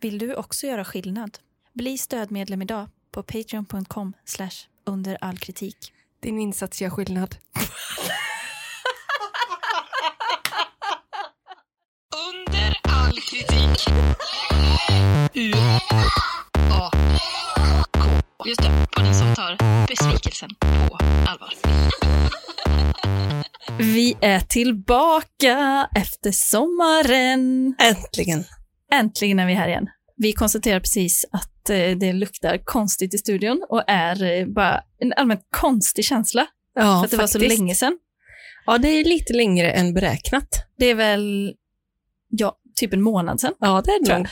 Vill du också göra skillnad? Bli stödmedlem idag på patreon.com under all kritik. Din insats gör skillnad. Under all kritik. U A K. Just det, podden som tar besvikelsen på allvar. Vi är tillbaka efter sommaren. Äntligen. Äntligen är vi här igen. Vi konstaterar precis att eh, det luktar konstigt i studion och är eh, bara en allmänt konstig känsla. Ja, för att det var så länge sedan. Ja, det är lite längre än beräknat. Det är väl ja, typ en månad sedan. Ja, det är det Tror jag. nog.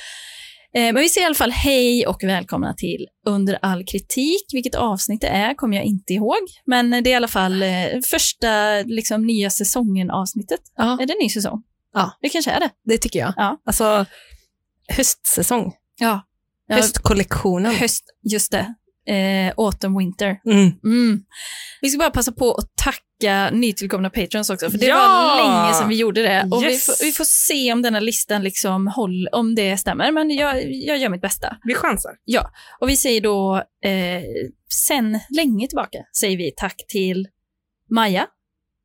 Eh, Men vi säger i alla fall hej och välkomna till Under all kritik. Vilket avsnitt det är kommer jag inte ihåg, men det är i alla fall eh, första liksom, nya säsongen-avsnittet. Ja. Är det ny säsong? Ja. Det kanske är det. Det tycker jag. Ja. Alltså, höstsäsong. Ja. Höstkollektionen. Höst, just det. Eh, autumn, winter. Mm. Mm. Vi ska bara passa på att tacka nytillkomna patrons också, för det Ja! var länge sedan vi gjorde det. Och vi, Yes! får, vi får se om den här listan liksom håll, om det stämmer, men jag, jag gör mitt bästa. Vi chansar. Och vi säger då, eh, sen länge tillbaka, säger vi tack till Maja,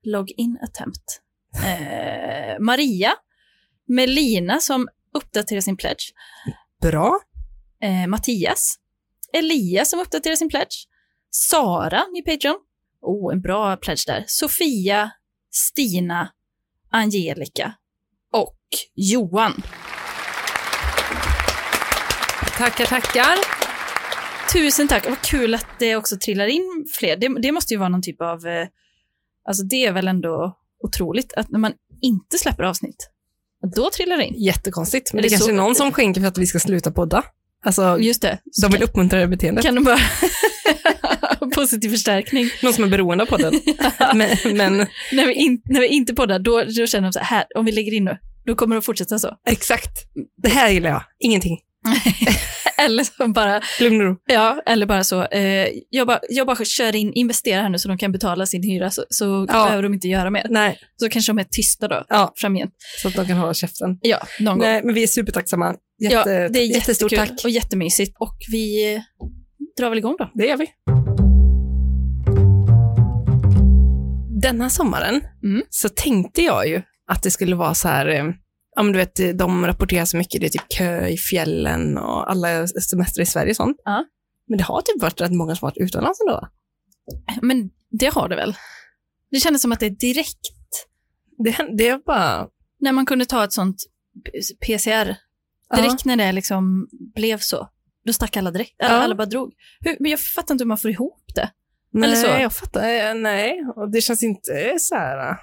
Login Attempt, eh, Maria, Melina som uppdaterar sin pledge, Bra. eh, Mattias, Elias som uppdaterar sin pledge, Sara i Patreon, oh, en bra pledge där, Sofia, Stina, Angelica och Johan. Tackar, tackar. Tusen tack. Vad kul att det också trillar in fler. Det, det måste ju vara någon typ av... eh, Alltså det är väl ändå otroligt att när man inte släpper avsnitt, då trillar det in. Jättekonstigt. Men Är det, det kanske så- är någon som skänker för att vi ska sluta podda. Alltså, Just det. de vill uppmuntra det här beteendet. Kan du bara... Positiv förstärkning. Någon som är beroende av podden. men, men När vi, in, när vi inte poddar, då, då känner de så här, här, om vi lägger in nu, då kommer de fortsätta så. exakt. Det här gillar jag. Ingenting. Eller så bara, Lugn och ro. ja, eller bara så, eh, jag, bara, jag bara kör in, investerar här nu så de kan betala sin hyra, så, så Ja. behöver de inte göra mer. Nej, Så kanske de är tysta då, Ja. framgent. så att de kan hålla käften. Ja, någon gång. Nej, men vi är supertacksamma. Jätte, ja, det är jättestort jättestort tack. och jättemysigt. Och vi eh, drar väl igång då. Det gör vi. Denna sommaren Mm. så tänkte jag ju att det skulle vara så här, eh, ja men du vet, de rapporterar så mycket, det är typ kö i fjällen och alla semester i Sverige och sånt. Ja. Men det har typ varit rätt många som varit utomlands ändå. Men det har det väl? Det kändes som att det är direkt Det, hän- det är bara... när man kunde ta ett sånt p- PCR, direkt när det liksom blev så, då stack alla direkt. Alla, Ja. alla bara drog. Hur, men jag fattar inte hur man får ihop det. nej, eller så. jag fattar. eh, Nej, och det känns inte så här eh,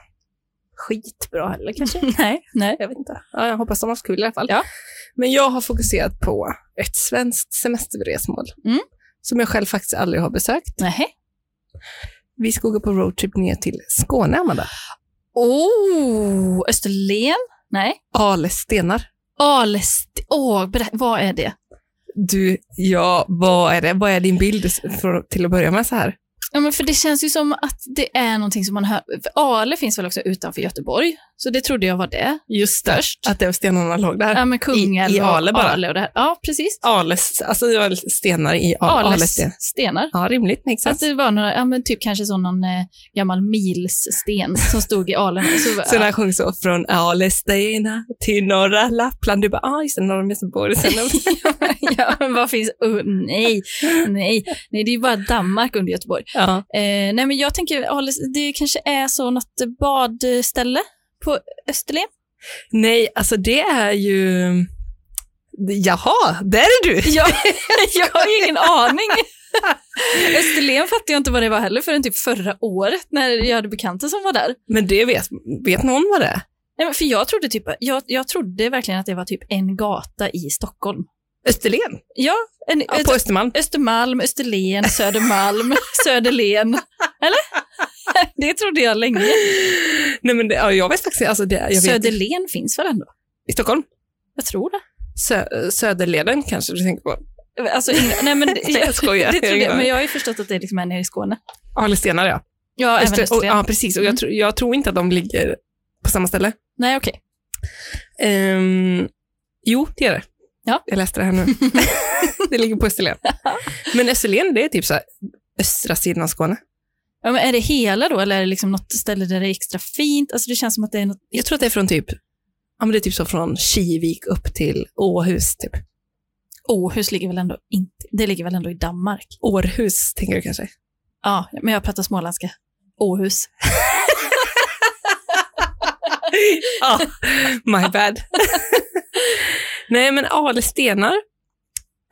skitbra heller kanske. nej, nej. Jag vet inte. Ja, jag hoppas de har haft kul i alla fall. Ja. Men jag har fokuserat på ett svenskt semesterresmål Mm. som jag själv faktiskt aldrig har besökt. Nej. Vi ska gå på roadtrip ner till Skåne, Amanda. Oh, Österlen? Nej. Ale stenar. Alest... Åh, berä- vad är det? Du, ja, vad är det? Vad är din bild för, till att börja med så här? Ja, men för det känns ju som att det är någonting som man hör. för Ale finns väl också utanför Göteborg, så det trodde jag var det. Just det, att det var stenarna låg där. Ja, men Kungälv I- i Ale och bara. Ale och det här. Ja, precis. Ales, alltså det var stenar i Ale, Ales Alesten. stenar. Ja, rimligt. Makes Att sense. det var några, ja, men typ kanske sån någon eh, gammal milssten som stod i alen. Så, Så när han sjöng så, från Alestena till norra Lappland, du bara, ah, just det, norr om Göteborg. Sen ja, men vad finns... Oh, nej, nej, nej, det är ju bara Danmark under Göteborg. ja. Eh, nej, men jag tänker, Ales, det kanske är så något badställe på Österlen. Nej, alltså det är ju... Jaha, där är du! Jag, jag har ingen aning. Österlen fattade jag inte vad det var heller förrän typ förra året när jag hade bekanta som var där. Men det vet, vet någon vad det är? Nej, men för jag trodde, typ, jag, jag trodde verkligen att det var typ en gata i Stockholm. Österlen, Ja, en, ja, Ö- på Östermalm. Östermalm, Österlen, Södermalm, Söderlen. Eller? Det trodde jag länge. Nej, men det, ja, jag vet faktiskt alltså det, jag vet, inte. Söderlen finns väl ändå? I Stockholm? Jag tror det. Sö, söderleden kanske du tänker på? Alltså, in- nej, men, Nej, jag skojar. Det trodde jag, men jag... jag har ju förstått att det liksom är nere i Skåne. Alestenar, ja. Ja, även Öster, och, Österlen. ja, precis. Och jag, Mm. tror- jag tror inte att de ligger på samma ställe. Nej, okej. Ehm, jo, det är det. Ja. Jag läste det här nu. det ligger på Österlen. Men Österlen, det är typ så här östra sidan av Skåne. Ja, men är det hela då, eller är det liksom något ställe där det är extra fint? Alltså det känns som att det är något... Jag tror att det är från typ, ja men det är typ så från Kivik upp till Åhus typ. Åhus ligger väl ändå inte... Det ligger väl ändå i Danmark? Århus tänker du kanske? Ja, men jag pratar småländska. Åhus. Ja, my bad. Nej, men alestenar,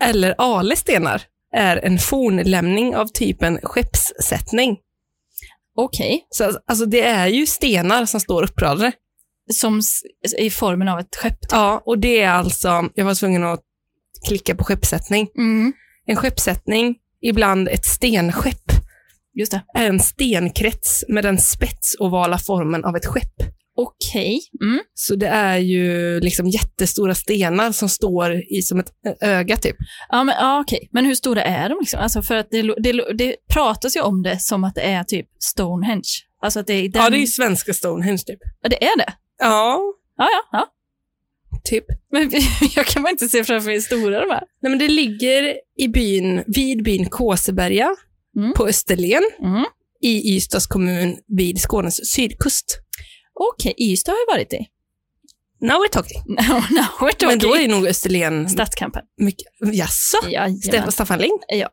eller alestenar, är en fornlämning av typen skeppssättning. Okej. Så alltså- alltså det är ju stenar som står uppradade. Som s- i formen av ett skepp. Ja, och det är alltså, jag var tvungen att klicka på skeppssättning. Mm, En skeppssättning, ibland ett stenskepp, just det. är en stenkrets med den spetsovala formen av ett skepp. Okej. Mm. Så det är ju liksom jättestora stenar som står i som ett öga typ. Ja, men, ja, okej. men hur stora är de? Liksom? Alltså för att det, lo- det, lo- det pratas ju om det som att det är typ Stonehenge. Alltså att det är i den... Ja, det är ju svenska Stonehenge typ. Ja, det är det. Ja, Ja, ja, ja. typ. Men jag kan bara inte se framför mig hur stora de är. Nej, men det ligger i byn, vid byn Kåseberga Mm. på Österlen Mm. i Ystads kommun vid Skånes sydkust. Okej, Ystad har jag varit i. Now we're talking. No, no, we're Men då talking. är nog Österlen... Stadskampen. mycket, jaså? Jajamän. Stefan, Staffan Ling? Ja,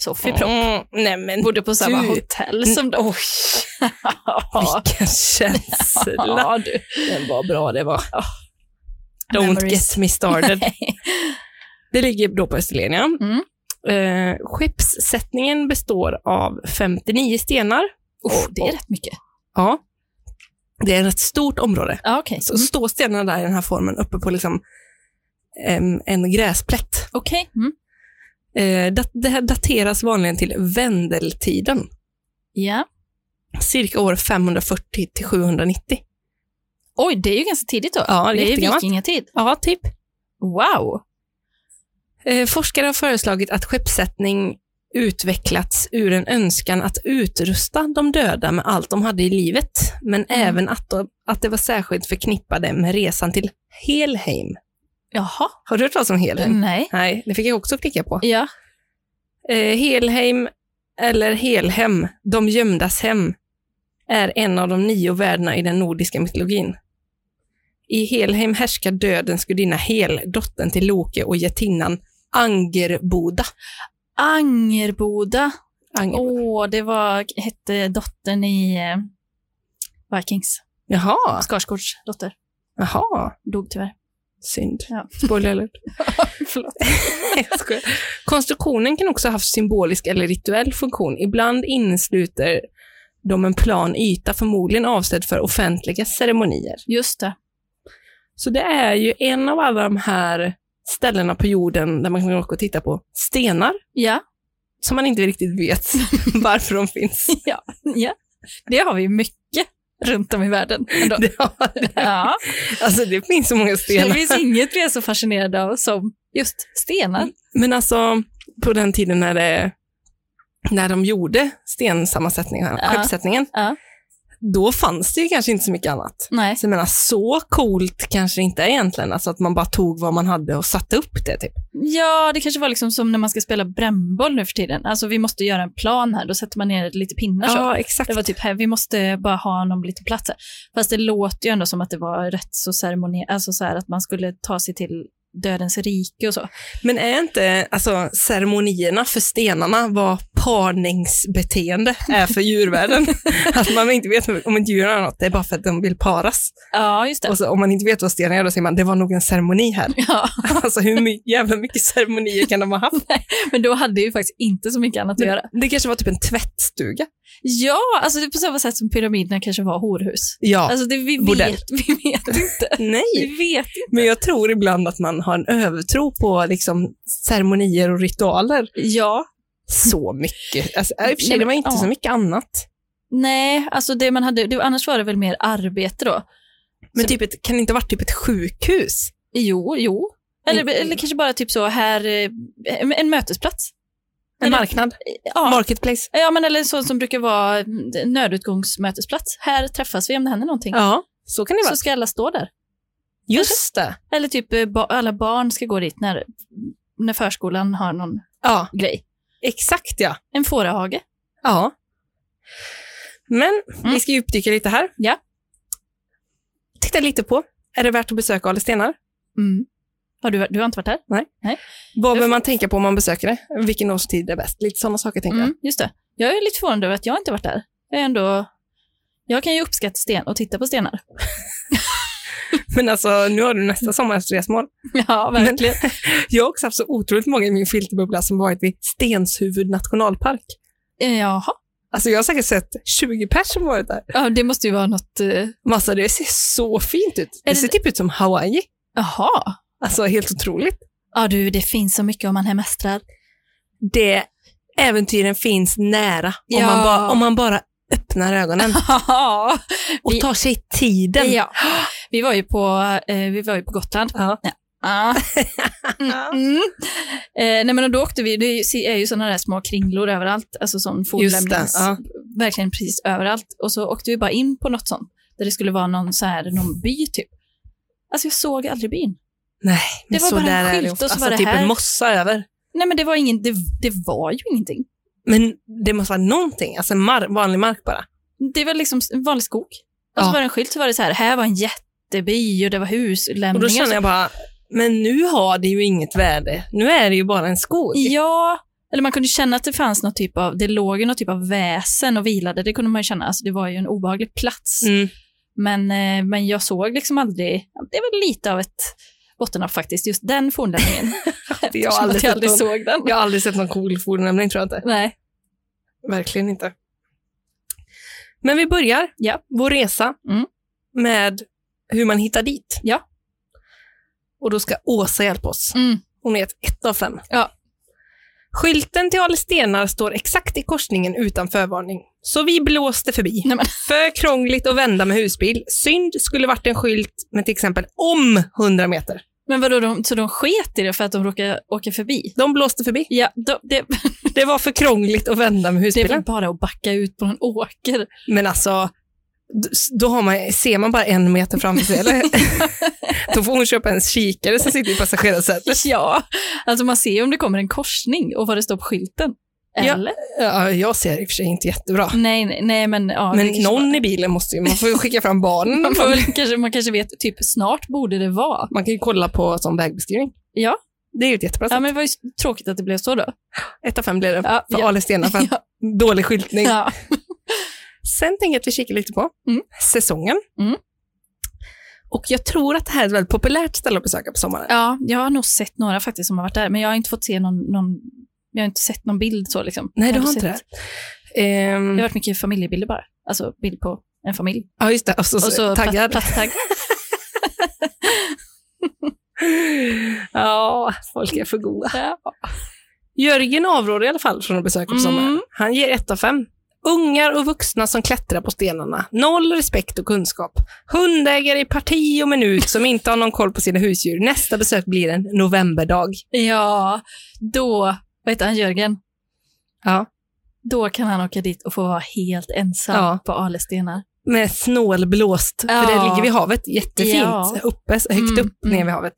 Sofie Propp. nej men Bodde på samma Du- hotell som de. Mm, Oj, vilken känsla. Ja, du. Den var bra det var. Don't Memories. get me started. det ligger då på Österlen, ja. Mm. Eh, skeppssättningen består av 59 stenar. Uff, det är rätt mycket. Ja. Det är ett rätt stort område. Ja, okej. Alltså, Så står stenarna där i den här formen uppe på liksom, em, en gräsplätt. Okej. Mm. Eh, dat- det här dateras vanligen till vändeltiden, Ja. cirka år 540 till 790. Oj, det är ju ganska tidigt då. Ja, det är det är jättegammalt. vikingatid. Ja, typ. Wow. Eh, forskare har föreslagit att skeppssättning utvecklats ur en önskan att utrusta de döda med allt de hade i livet, men även att, de, att det var särskilt förknippade med resan till Helheim. Jaha. Har du hört talas om Helheim? Nej. Nej, det fick jag också klicka på. Mm. Ja. Eh, Helheim, eller Helhem, de gömdas hem, är en av de nio världarna i den nordiska mytologin. I Helheim härskar dödens gudinna Hel, dottern till Loke och jättinnan Angerboda. Angerboda. Anger. Åh, det var, hette dottern i eh, Vikings. Jaha, Skarsgårds dotter. jaha, Dog tyvärr. synd. Ja. Spoiler alert. Förlåt. Jag skojar. Konstruktionen kan också ha haft symbolisk eller rituell funktion. Ibland innesluter de en plan yta, förmodligen avsedd för offentliga ceremonier. Just det. Så det är ju en av alla de här ställena på jorden där man kan åka och titta på stenar Ja. som man inte riktigt vet varför de finns. ja. ja. Det har vi ju mycket runt om i världen. Ändå. Det, har, Ja. alltså det finns så många Det stenar. finns inget vi är så fascinerade av som just stenar. Men alltså på den tiden när, det, när de gjorde stensammansättningen, Ja. skeppssättningen, Ja. då fanns det ju kanske inte så mycket annat. Nej. Så jag menar, så coolt kanske det inte är egentligen, alltså att man bara tog vad man hade och satte upp det. Typ. Ja, det kanske var liksom som när man ska spela brännboll nu för tiden. Alltså vi måste göra en plan här, då sätter man ner lite pinnar så. exakt. Det var typ här, vi måste bara ha någon liten plats här. Fast det låter ju ändå som att det var rätt så ceremoni, alltså så här att man skulle ta sig till dödens rike och så. Men är inte alltså, ceremonierna för stenarna vad parningsbeteende är för djurvärlden? att man inte vet om ett djur har något, det är bara för att de vill paras. Ja, just det. Och så, om man inte vet vad stenar är, då säger man det var nog en ceremoni här. Ja, alltså hur my- jävla mycket ceremonier kan de ha haft? men då hade ju faktiskt inte så mycket annat att göra. Det kanske var typ en tvättstuga? Ja, alltså det är på samma sätt som pyramiderna kanske var horhus. Ja. Alltså det, vi, bordell. vet, vi vet inte. Nej, Vi vet men jag tror ibland att man har en övertro på liksom, ceremonier och ritualer. Ja. Så mycket. Alltså, i och för Nej, sig, det men- var inte ja. så mycket annat. Nej, alltså det man hade, det, annars var det väl mer arbete då. Men Så- typ ett, kan det inte ha varit typ ett sjukhus? Jo, jo. Eller, Mm. eller kanske bara typ så här, eh, en- en mötesplats. En Eller- marknad? Ja, Marketplace? ja men eller så som brukar vara mm, nödutgångsmötesplats. Här träffas vi om det händer någonting. Ja, så kan det vara. så ska alla stå där. Just det. Eller typ eh, ba- alla barn ska gå dit när, när förskolan har någon Ja, grej. exakt ja. En fårahage. Ja. Men Mm. vi ska djupdyka lite här. Ja. Titta lite på, är det värt att besöka Ale stenar? Mm. Har du, du har inte varit här? Vad bör man tänka på om man besöker det? Vilken årstid är bäst? Lite sådana saker tänker jag. Mm, just det. Jag är lite förvånad över att jag inte varit där. Jag, är ändå, jag kan ju uppskatta sten och titta på stenar. Men alltså, nu har du nästa sommars resmål. Ja, verkligen. Jag har också haft så otroligt många i min filterbubbla som varit vid Stenshuvud nationalpark. Eh, Jaha, Alltså jag har säkert sett 20 personer som varit där. ja, det måste ju vara något... eh, Massa, det ser så fint ut. Det det- ser typ ut som Hawaii. Jaha. Alltså helt otroligt. Ja du, det finns så mycket om man hemestrar. Det äventyren finns nära Ja. om, man bara, om man bara öppnar ögonen Ja. och Vi- tar sig tiden. ja. Vi var ju på, eh, vi var ju på Gotland. Ja. Ah. Mm, mm. Eh, nej men och då åkte vi, det är ju- se- är ju sådana där små kringlor överallt, alltså sån Just det. fornlämnings... Ja. Verkligen precis överallt. Och så åkte vi bara in på något sånt, där det skulle vara någon, så här, någon by typ. Alltså jag såg aldrig byn. Nej, men Det var så bara en där är skylt det och ofta. så var Alltså det typ här. en mossa över. Nej men det var, ingen, det, det var ju ingenting. Men det måste vara någonting, alltså en mar- vanlig mark bara. Det var liksom en vanlig skog. Och Ja. så var det en skylt så var det så här, här var en jätteby och det var Och huslämningar. då känner jag bara, men nu har det ju inget värde. Nu är det ju bara en skog. Ja, eller man kunde känna att det fanns något typ av, det låg ju något typ av väsen och vilade, det kunde man ju känna. Alltså det var ju en obehaglig plats. Mm. Men, eh, men jag såg liksom aldrig, det var lite av ett bottennapp faktiskt, just den fornlämningen. Eftersom jag har aldrig att jag aldrig sett någon. såg den. Jag har aldrig sett någon cool fornlämning tror jag inte. Nej. Verkligen inte. Men vi börjar Ja. vår resa Mm. med hur man hittar dit. Ja. Och då ska Åsa hjälpa oss. Mm. Hon är ett ett av fem. Ja. Skylten till Ale stenar står exakt i korsningen utan förvarning. Så vi blåste förbi. Nej, men. För krångligt att vända med husbil. Synd skulle varit en skylt med till exempel om 100 meter. Men vadå, de, så de sket i det för att de råkade åka förbi? De blåste förbi. Ja, de, det, Det var för krångligt att vända med det är husbilen. väl bara att backa ut på en åker. Men alltså, d- då har man, ser man bara en meter framför sig, eller? då får hon köpa en kikare som sitter i passagerarsätet. Ja, alltså man ser ju om det kommer en korsning och vad det står på skylten. Ja. Eller? Ja, jag ser i och för sig inte jättebra. Nej, nej, nej, men... Ja, Men det kanske någon i bilen måste ju, man får ju skicka fram barnen. Man, får väl, kanske, man kanske vet, typ snart borde det vara. Man kan ju kolla på sån vägbeskrivning. Ja. Det är ju ett jättebra Ja, sätt. men det var ju s- tråkigt att det blev så då. Ett av fem blir det Ja, för ja. Ale Stena för Ja. dålig skyltning. Ja. Sen tänker jag att vi kikar lite på Mm. säsongen. Mm. Och jag tror att det här är ett väldigt populärt ställe att besöka på sommaren. ja, jag har nog sett några faktiskt som har varit där, men jag har inte fått se någon, någon jag har inte sett någon bild så liksom. Nej, Jag du har sett- inte det. Ehm, Det har varit mycket familjebilder bara, alltså bild på en familj. Ja, just det. Och så, Och så taggad. Platt, platttagg. Ja, folk är för goda. Ja. Jörgen avråder i alla fall från att besöka på Mm. sommaren. Han ger ett av fem. Ungar och vuxna som klättrar på stenarna. Noll respekt och kunskap. Hundägare i parti och minut som inte har någon koll på sina husdjur. Nästa besök blir en novemberdag. ja, då, vad heter han, Jörgen? Ja. Då kan han åka dit och få vara helt ensam Ja. på Alestenar. Med snålblåst, Ja. för det ligger vid havet. Jättefint. Ja. Uppe, så högt Mm, upp, ner mm. vid havet.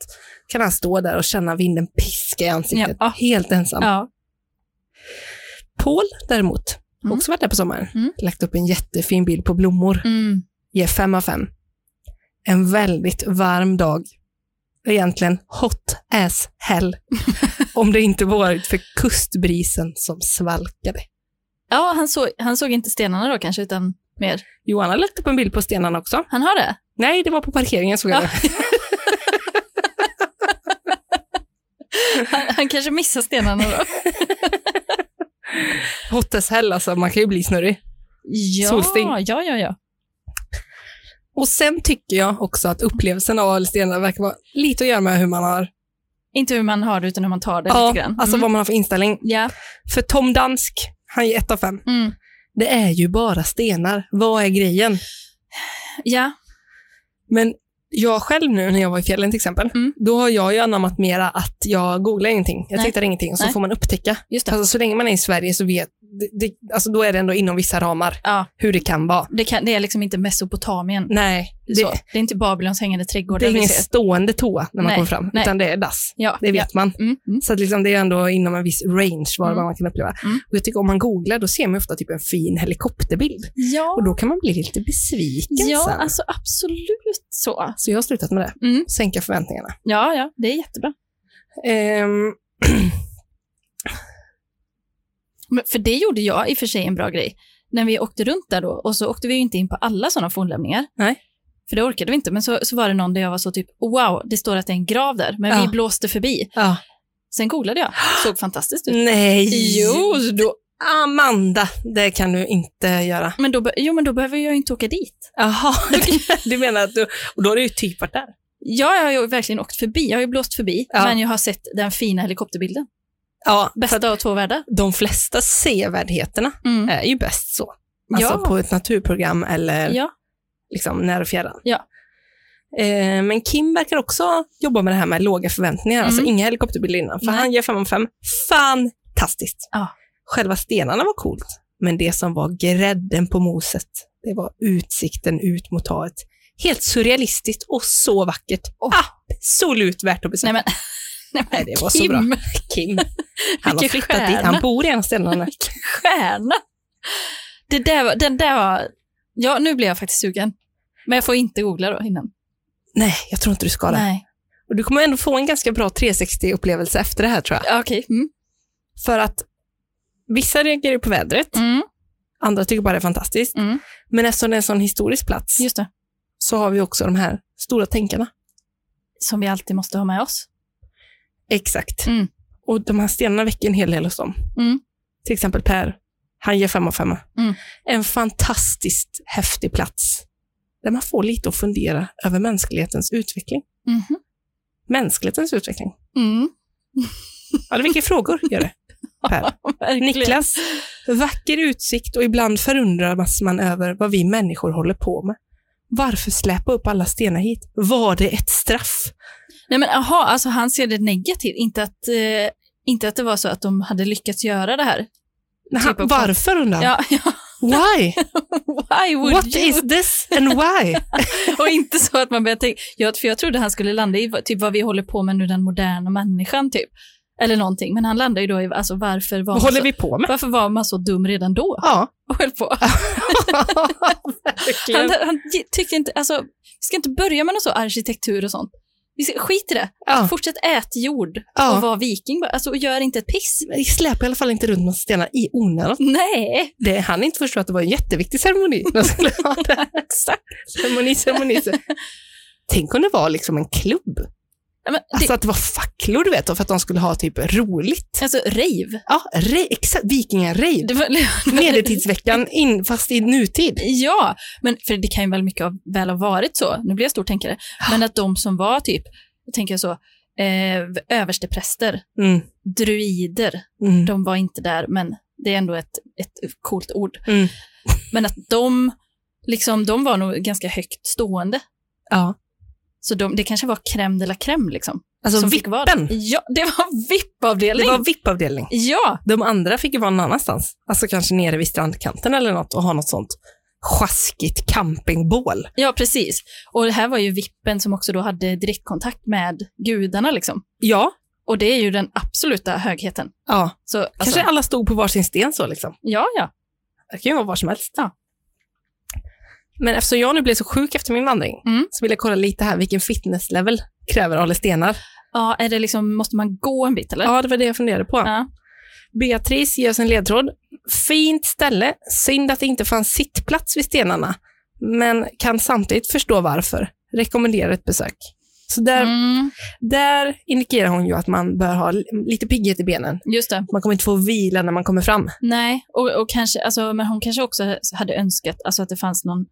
Kan han stå där och känna vinden piska i ansiktet. Ja. Helt ensam. Ja. Paul däremot, har Mm. också varit där på sommaren, Mm. lagt upp en jättefin bild på blommor. Mm. Ger fem av fem. En väldigt varm dag. Egentligen hot as hell. Om det inte varit för kustbrisen som svalkade. Ja, han såg, han såg inte stenarna då kanske, utan mer. Johan har lagt upp en bild på stenarna också. Han har det? Nej, det var på parkeringen såg jag det. Han, han kanske missar stenarna då? Hot as hell alltså, man kan ju bli snurrig. ja, Solsting. Ja, ja, ja. Och sen tycker jag också att upplevelsen av Alstenar verkar vara lite att göra med hur man har, Inte hur man har det, utan hur man tar det ja, lite grann. Mm. alltså vad man har för inställning. Ja. För Tom Dansk, han ger ett av fem. Mm. Det är ju bara stenar. Vad är grejen? ja. Men jag själv nu när jag var i fjällen till exempel, Mm. då har jag ju anammat mera att jag googlar ingenting. Jag Nej. tittar ingenting och så Nej. får man upptäcka. Just det. Alltså, så länge man är i Sverige så vet, det, det, alltså då är det ändå inom vissa ramar Ja, hur det kan vara. det, kan, det är liksom inte Mesopotamien. Nej, Mm, det, så. det är inte Babylons hängande trädgårdar det är vi ingen ser. stående toa när man Nej, kommer fram, nej. utan det är dass. Ja, Det vet man. ja. Mm, mm. Så att liksom det är ändå inom en viss range vad Mm. man kan uppleva. Mm. Och jag tycker om man googlar, då ser man ofta typ en fin helikopterbild. Och ja, då kan man bli lite besviken ja sen. alltså absolut så. Så jag har slutat med det. Mm. Sänka förväntningarna. Ja, ja, det är jättebra. Ehm, Men, för det gjorde jag i och för sig en bra grej. När vi åkte runt där då, och så åkte vi ju inte in på alla sådana fornlämningar. Nej. För det orkade vi inte, men så, så var det någon där jag var så typ, wow, det står att det är en grav där, men vi Ja. blåste förbi. ja. Sen googlade jag, såg fantastiskt ut. Nej! Jo, så då, Amanda, det kan du inte göra. men då, be- jo, men då behöver jag ju inte åka dit. Jaha, du menar att du... Och då har du ju typ varit där. Ja, jag har ju verkligen åkt förbi, jag har ju blåst förbi, Ja. men jag har sett den fina helikopterbilden. Ja, för att Bästa av två världar. de flesta sevärdheterna Mm. är ju bäst så. Ja. Alltså på ett naturprogram eller Ja, liksom när och fjärran. Ja. Eh, men Kim verkar också jobba med det här med låga förväntningar, alltså Mm. inga helikopterbilder innan. För Nej. han ger fem av fem. Fantastiskt! Ja. Själva stenarna var coolt, men det som var grädden på moset, det var utsikten ut mot havet. Helt surrealistiskt och så vackert. Absolut värt att besöka. nej men, nej, men Nej, det var så Kim, bra. Kim, han har Vilken flyttat stjärna. dit. Han bor i en av stenarna. stjärna. Det där var, den där var, ja nu blir jag faktiskt sugen. Men jag får inte googla då innan. Nej, jag tror inte du ska det. Nej, Och du kommer ändå få en ganska bra 360-upplevelse efter det här tror jag. Ja, okej. Mm. För att vissa reagerar ju på vädret, Mm. andra tycker bara det är fantastiskt. Mm. Men eftersom det är en sån historisk plats Just det, så har vi också de här stora tänkarna. som vi alltid måste ha med oss. Exakt. Mm. Och de här stenarna väcker en hel del hos dem. Mm. Till exempel Per, han ger fem av femma. Mm. En fantastiskt häftig plats där man får lite att fundera över mänsklighetens utveckling. Mhm. Mänsklighetens utveckling. Mm. Ja, det väcker frågor, gör det. Per. Verkligen. Niklas, vacker utsikt och ibland förundras man över vad vi människor håller på med. Varför släpa upp alla stenar hit? Var det ett straff? Nej men aha, alltså han ser det negativt, inte att, eh, inte att det var så att de hade lyckats göra det här. Nej, Typ han- av- varför undrar han? Ja, ja. Why? Why would What you? is this and why? Och inte så att man börjar tänka, jag, för jag trodde han skulle landa i vad- typ vad vi håller på med nu, den moderna människan typ. Eller någonting, men han landar ju då i, alltså varför var Vad man håller så, vi på med? varför var man så dum redan då? Ja. och höll på. Han, Verkligen. han ge- tyckte inte, alltså, vi ska inte börja med något så arkitektur och sånt. Vi ska, skit i det. ja. Fortsätt ät jord och ja. var viking. bara. Alltså, och gör inte ett piss. Men Släp i alla fall inte runt några stenar i onödan. Nej, Det han inte förstår att det var en jätteviktig ceremoni. De skulle ha det. exakt. ceremoni, ceremoni. Tänk om det var liksom en klubb. Ja, Men, Alltså att det var facklor, du vet, och för att de skulle ha typ roligt. det, alltså rave. Ja, re, exakt. Vikingarejv. Det var, Medeltidsveckan, in, fast i nutid. ja, men för det kan ju väl mycket av, väl ha varit så. Nu blir jag stor tänkare. Ah. Men att de som var typ, då tänker jag så, eh, överstepräster, Mm. druider, Mm. de var inte där, men det är ändå ett, ett coolt ord. Mm. Men att de, liksom, de var nog ganska högt stående. Ja. Så de, det kanske var crème de la crème liksom. Alltså som fick vara där. vippen. Ja, det var Det VIP-avdelning. var vippavdelning. Ja, De andra fick ju vara någon annanstans. Alltså kanske nere vid strandkanten eller något och ha något sånt sjaskigt campingbål. ja, precis. Och det här var ju VIPen som också då hade direktkontakt med gudarna liksom. Ja. Och det är ju den absoluta högheten. ja. Så, alltså, Kanske alla stod på varsin sten så liksom. ja, ja. Det kan ju vara var som helst. Ja. Men eftersom jag nu blev så sjuk efter min vandring Mm. så vill jag kolla lite här vilken fitness level kräver Ale Stenar. ja är det liksom, måste man gå en bit eller? Ja, det var det jag funderade på. Ja. Beatrice ger oss en ledtråd. Fint ställe, synd att det inte fanns sittplats vid stenarna, men kan samtidigt förstå varför. Rekommenderar ett besök. Så där, Mm, där indikerar hon ju att man bör ha li- lite pigghet i benen. just det. Man kommer inte få vila när man kommer fram. Nej, och, och kanske, alltså, men hon kanske också hade önskat alltså, att det fanns någon,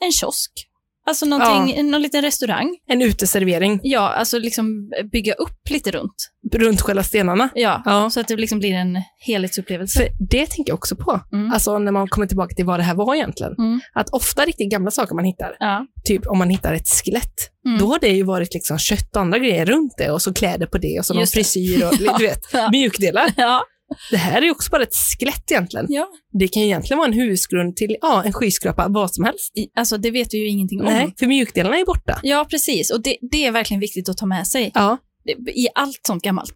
en kiosk. Alltså någonting, någon liten restaurang. En uteservering Ja, alltså liksom bygga upp lite runt. runt själva stenarna. Ja, Ja. så att det liksom blir en helhetsupplevelse. För det tänker jag också på. Mm. Alltså när man kommer tillbaka till vad det här var egentligen. Mm. Att ofta riktigt gamla saker man hittar, Ja. typ om man hittar ett skelett, Mm. då har det ju varit liksom kött och andra grejer runt det och så kläder på det och så någon Just det. frisyr och du vet, Ja. mjukdelar. ja, Det här är ju också bara ett skelett egentligen. Ja. Det kan ju egentligen vara en husgrund till ja, en skyskrapa, vad som helst. I- Alltså det vet vi ju ingenting om. Nej, för mjukdelarna är borta. Ja, precis. Och det, det är verkligen viktigt att ta med sig Ja, Det- i allt sånt gammalt.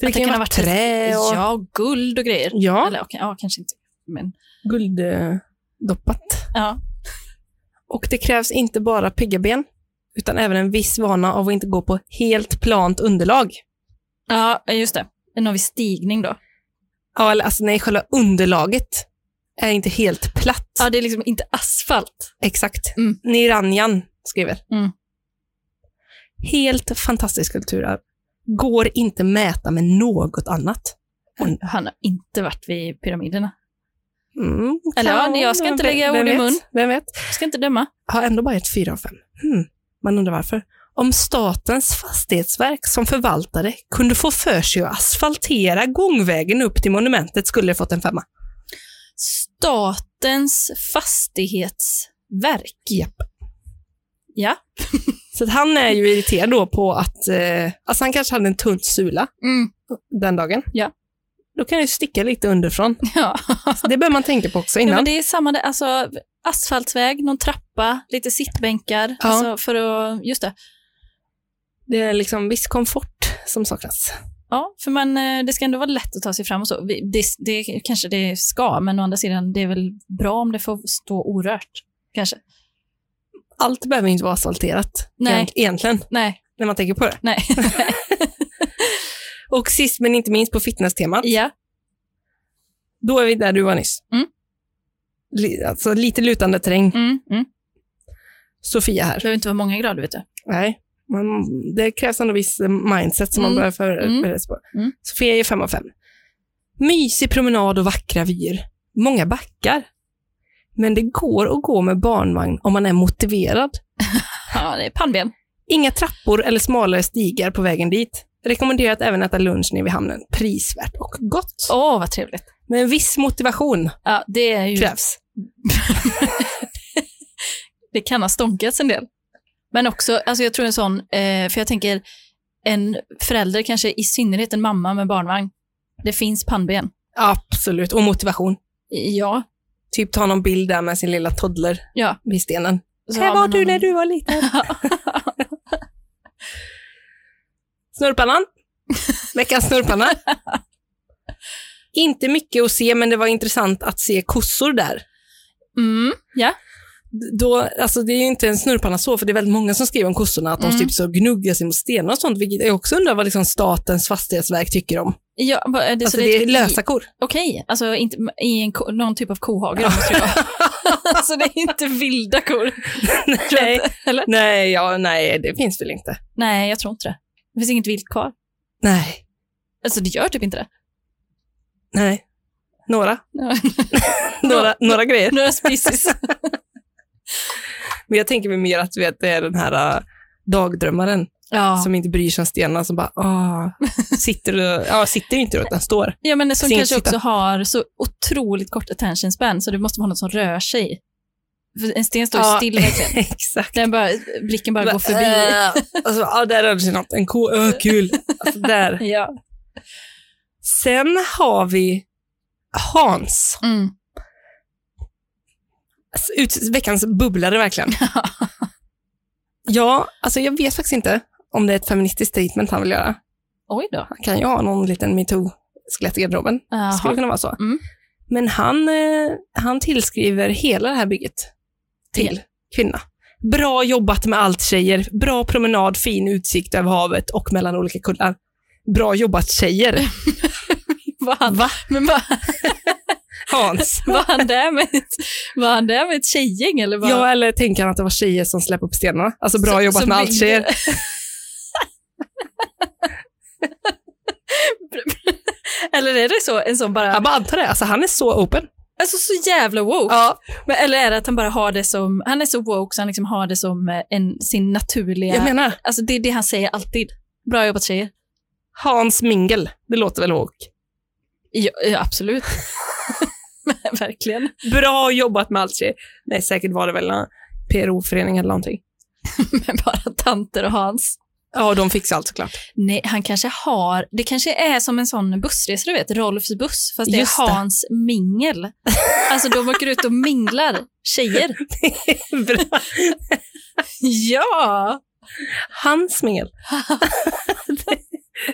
för det, Att kan ju ha varit trä och Ja, Eh, och guld och grejer. ja, Eller okej, ja, kanske inte. Men gulddoppat. ja, Och det krävs inte bara pigga ben, utan även en viss vana av att inte gå på helt plant underlag. ja just det. En viss stigning då. Ja, eller alltså nej, själva underlaget är inte helt platt. Ja, det är liksom inte asfalt. Exakt. Mm. Niranjan skriver. Mm. Helt fantastisk kulturarv. Går inte mäta med något annat. Han, han har inte varit vid pyramiderna. Mm, Eller ja, kan- nej, jag ska inte vem- lägga vem ord i vet? mun. Vem vet? Jag ska inte döma. Har ändå bara ett 4 av 5. Hmm. Man undrar varför. Om Statens fastighetsverk som förvaltare kunde få för sig att asfaltera gångvägen upp till monumentet skulle det fått en femma. Statens fastighetsverk. Japp. Ja. Så att han är ju irriterad då på att, eh, alltså han kanske hade en tunn sula Mm. den dagen. Ja. Då kan det ju sticka lite underifrån. Ja. Så det bör man tänka på också ja, innan. men det är samma där. Alltså, asfaltväg, någon trappa, lite sittbänkar. Ja. Alltså för att, just det. Det är liksom viss komfort som saknas. Ja, för man, eh, det ska ändå vara lätt att ta sig fram och så. Vi- Det, det kanske det ska, men å andra sidan, det är väl bra om det får stå orört. Kanske. Allt behöver inte vara asfalterat Nej. egent- egentligen, Nej, när man tänker på det. nej. Och sist men inte minst på fitnesstemat, ja. då är vi där du var nyss. Mm. Li- Alltså lite lutande terräng. Mm, mm. Sofia Det här. behöver inte vara många grader, vet du. Nej. Man, det krävs ändå viss eh, mindset som Mm. man bör för, Mm. förbereda sig på. Mm. Sofia ger fem av fem. Mysig promenad och vackra vyer. Många backar. Men det går att gå med barnvagn om man är motiverad. Ja, det är pannben. Inga trappor eller smalare stigar på vägen dit. Rekommenderat även att äta lunch nere vid hamnen. Prisvärt och gott. Åh, vad trevligt. Men en viss motivation Ja, det är ju... krävs. det kan ha stånkats en del. Men också, alltså jag tror en sån, eh, för jag tänker en förälder, kanske i synnerhet en mamma med barnvagn, det finns pannben. Absolut. Och motivation. Ja. Typ ta någon bild där med sin lilla toddler Ja. vid stenen. Så Här har var man du någon- när du var liten. Snurrpannan. Veckans snurrpanna. Inte mycket att se, men det var intressant att se kossor där. Mm, ja. Då, alltså det är ju inte en snurrpanna så, för det är väldigt många som skriver om kossorna, att Mm. de typ så gnuggar sig mot stenar och sånt, vilket jag också undrar vad liksom statens fastighetsverk tycker om. ja vad är det, alltså så det är typ i- lösa kor. Okej, alltså inte, i en, ko- någon typ av kohage då måste det vara. alltså det är inte vilda kor. Tror jag Nej. inte. Eller? Nej, ja, nej, det finns väl inte. Nej, jag tror inte det. Det finns inget vilt kvar. Nej, Alltså det gör typ inte det. nej. Några, några, några grejer. Några species. Men jag tänker mig mer att vet, det är den här äh, dagdrömmaren ja. som inte bryr sig om stenarna som bara Åh, sitter och, ja, sitter ju inte då, utan står. Ja, men som Sin kanske sida. också har så otroligt kort attention span, så det måste vara något som rör sig. För en sten står ju Ja. still verkligen. Exakt. Den bara, blicken bara går förbi. Äh, alltså, ja, där rörde sig något. En ko, öh, kul. Alltså, där. Ja. Sen har vi Hans. Mm. Alltså, ut, veckans bubblare verkligen. ja, alltså jag vet faktiskt inte om det är ett feministiskt statement han vill göra. Oj då. Han kan ju ha någon liten metoo-skelett i garderoben. Det skulle Jaha. kunna vara så. Mm. Men han, eh, han tillskriver hela det här bygget till Till? kvinna. Bra jobbat med allt tjejer. Bra promenad, fin utsikt över havet och mellan olika kullar. Bra jobbat tjejer. Var han, Va? men var, Hans. var, han där med ett, var han där med ett tjejgäng eller? Var, Ja, eller tänker han att det var tjejer som släppte upp stenarna? Alltså bra jobbat med allt tjejer. eller är det så, en sån bara, Jag bara antar det. Alltså han är så open. alltså så jävla woke. Ja, Men, eller är det att han bara har det som, han är så woke så han liksom har det som eh, en, sin naturliga, jag menar alltså det är det han säger alltid. Bra jobbat tjejer. Hans Mingel. Det låter väl woke. Ja, ja, absolut. Men Verkligen. Bra jobbat med allt tjejer. Nej, säkert var det väl en PRO-förening eller någonting. Men bara tanter och Hans. Ja, de fixar allt såklart. Nej, han kanske har, det kanske är som en sån bussresa, du vet, Rolfs buss, fast det Just det. är Hans mingel. Alltså de åker ut och minglar, tjejer. Bra. Ja, Hans mingel.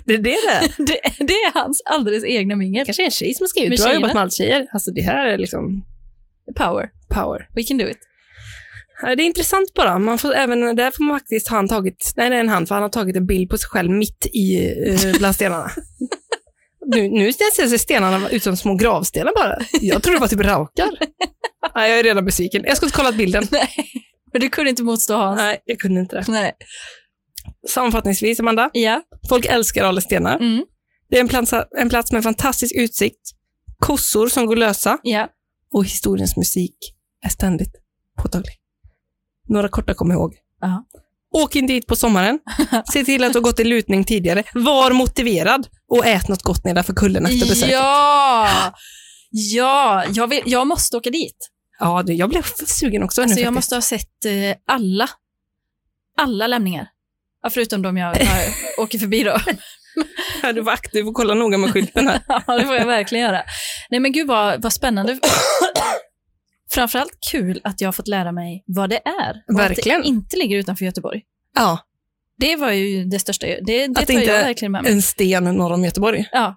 det, det är det det är. det, det är hans alldeles egna mingel. kanske är en tjej som har skrivit. Med Du har jobbat tjejerna. med allt tjejer. Alltså det här är liksom Power, power. we can do it. Ja, Det är intressant bara. Man får, även där får man faktiskt, har han tagit, nej det är en hand, för han har tagit en bild på sig själv mitt i, eh, bland stenarna. nu, nu ser sig stenarna ut som små gravstenar bara. Jag tror det var typ raukar. Nej, jag är redan besviken. Jag skulle inte kollat bilden. Men du kunde inte motstå Hans. Nej, jag kunde inte det. Nej. Sammanfattningsvis, Amanda. Ja, Folk älskar Ale stenar. mm, Det är en plats, en plats med fantastisk utsikt, kossor som går lösa ja. och historiens musik är ständigt påtaglig. Några korta kom ihåg. Ja. Åk in dit på sommaren. Se till att du har gått i lutning tidigare. Var motiverad och ät något gott nedanför kullen efter besöket. Ja. Ja, ja jag, vill, jag måste åka dit. det, jag blev sugen också Alltså, nu jag faktiskt. måste ha sett eh, alla, alla lämningar. Ja, förutom de jag har, åker förbi då. Ja, Du var aktiv och kolla noga med skylten här. Ja, det får jag verkligen göra. Nej, men gud vad, vad spännande. Framförallt kul att jag har fått lära mig vad det är. Och Verkligen. Att det inte ligger utanför Göteborg. Ja, Det var ju det största. Det, det Att tar inte- jag verkligen med mig. en sten norr om Göteborg. Ja,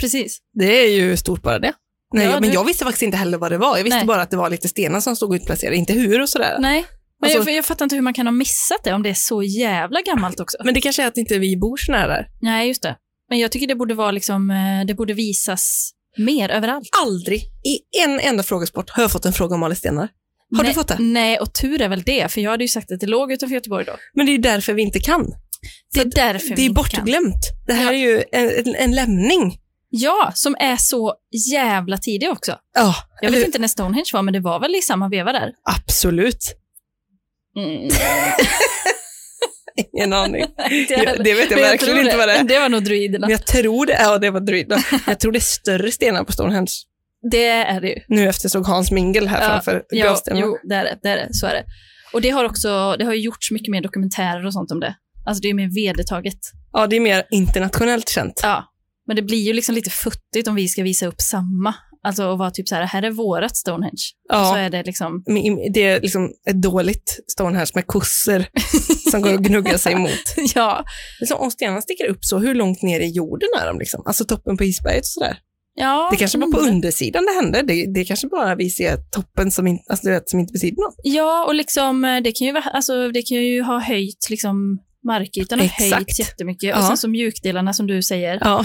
precis. Det är ju stort bara det. Nej, Ja, men du- jag visste faktiskt inte heller vad det var. Jag visste Nej. bara att det var lite stenar som stod utplacerade, inte hur och sådär. Nej, men Alltså- jag, jag fattar inte hur man kan ha missat det om det är så jävla gammalt också. Men det kanske är att inte vi bor så nära där. Nej, just det. Men jag tycker det borde vara liksom, eh, det borde visas mer överallt. Aldrig i en enda frågesport har jag fått en fråga om Ale stenar. Har nej, du fått det? Nej, och tur är väl det, för jag hade ju sagt att det låg utanför Göteborg då. Men det är ju därför vi inte kan. Det är därför det vi är kan. bortglömt. Det här är ju en, en, en lämning. Ja, som är så jävla tidig också. Ja, Jag eller- vet inte när Stonehenge var, men det var väl i samma veva där. absolut. Mm. Ingen aning. Ja, det vet jag Men verkligen tror inte vad det är. Det var nog druiderna. Men jag tror det, ja det var drygt. Jag tror det är större stenar på Stonehenge. Det är det ju. Nu efter såg Hans Mingel här Ja, framför Ja, gravstenen. jo, det är det, det är det. Så är det. Och det har också, det har ju gjorts mycket mer dokumentärer och sånt om det. Alltså det är mer vedertaget. Ja, det är mer internationellt känt. Ja, men det blir ju liksom lite futtigt om vi ska visa upp samma. Alltså och vara typ så här, här är vårat Stonehenge. Så Ja, är det liksom, men i- det är liksom ett dåligt Stonehenge med kossor som går och gnuggar sig emot. ja, Liksom, om stenarna sticker upp så, hur långt ner i jorden är de? Liksom? Alltså toppen på isberget och sådär. ja. Det kanske var på mm. undersidan det hände. Det, det kanske bara vi ser toppen som, in, alltså, du vet, som inte betyder något. Ja, och liksom, eh, det, kan ju, vara- alltså, det kan ju ha höjt liksom, markytan har Exakt. höjts jättemycket. Och Ja. sen som mjukdelarna som du säger. Ja,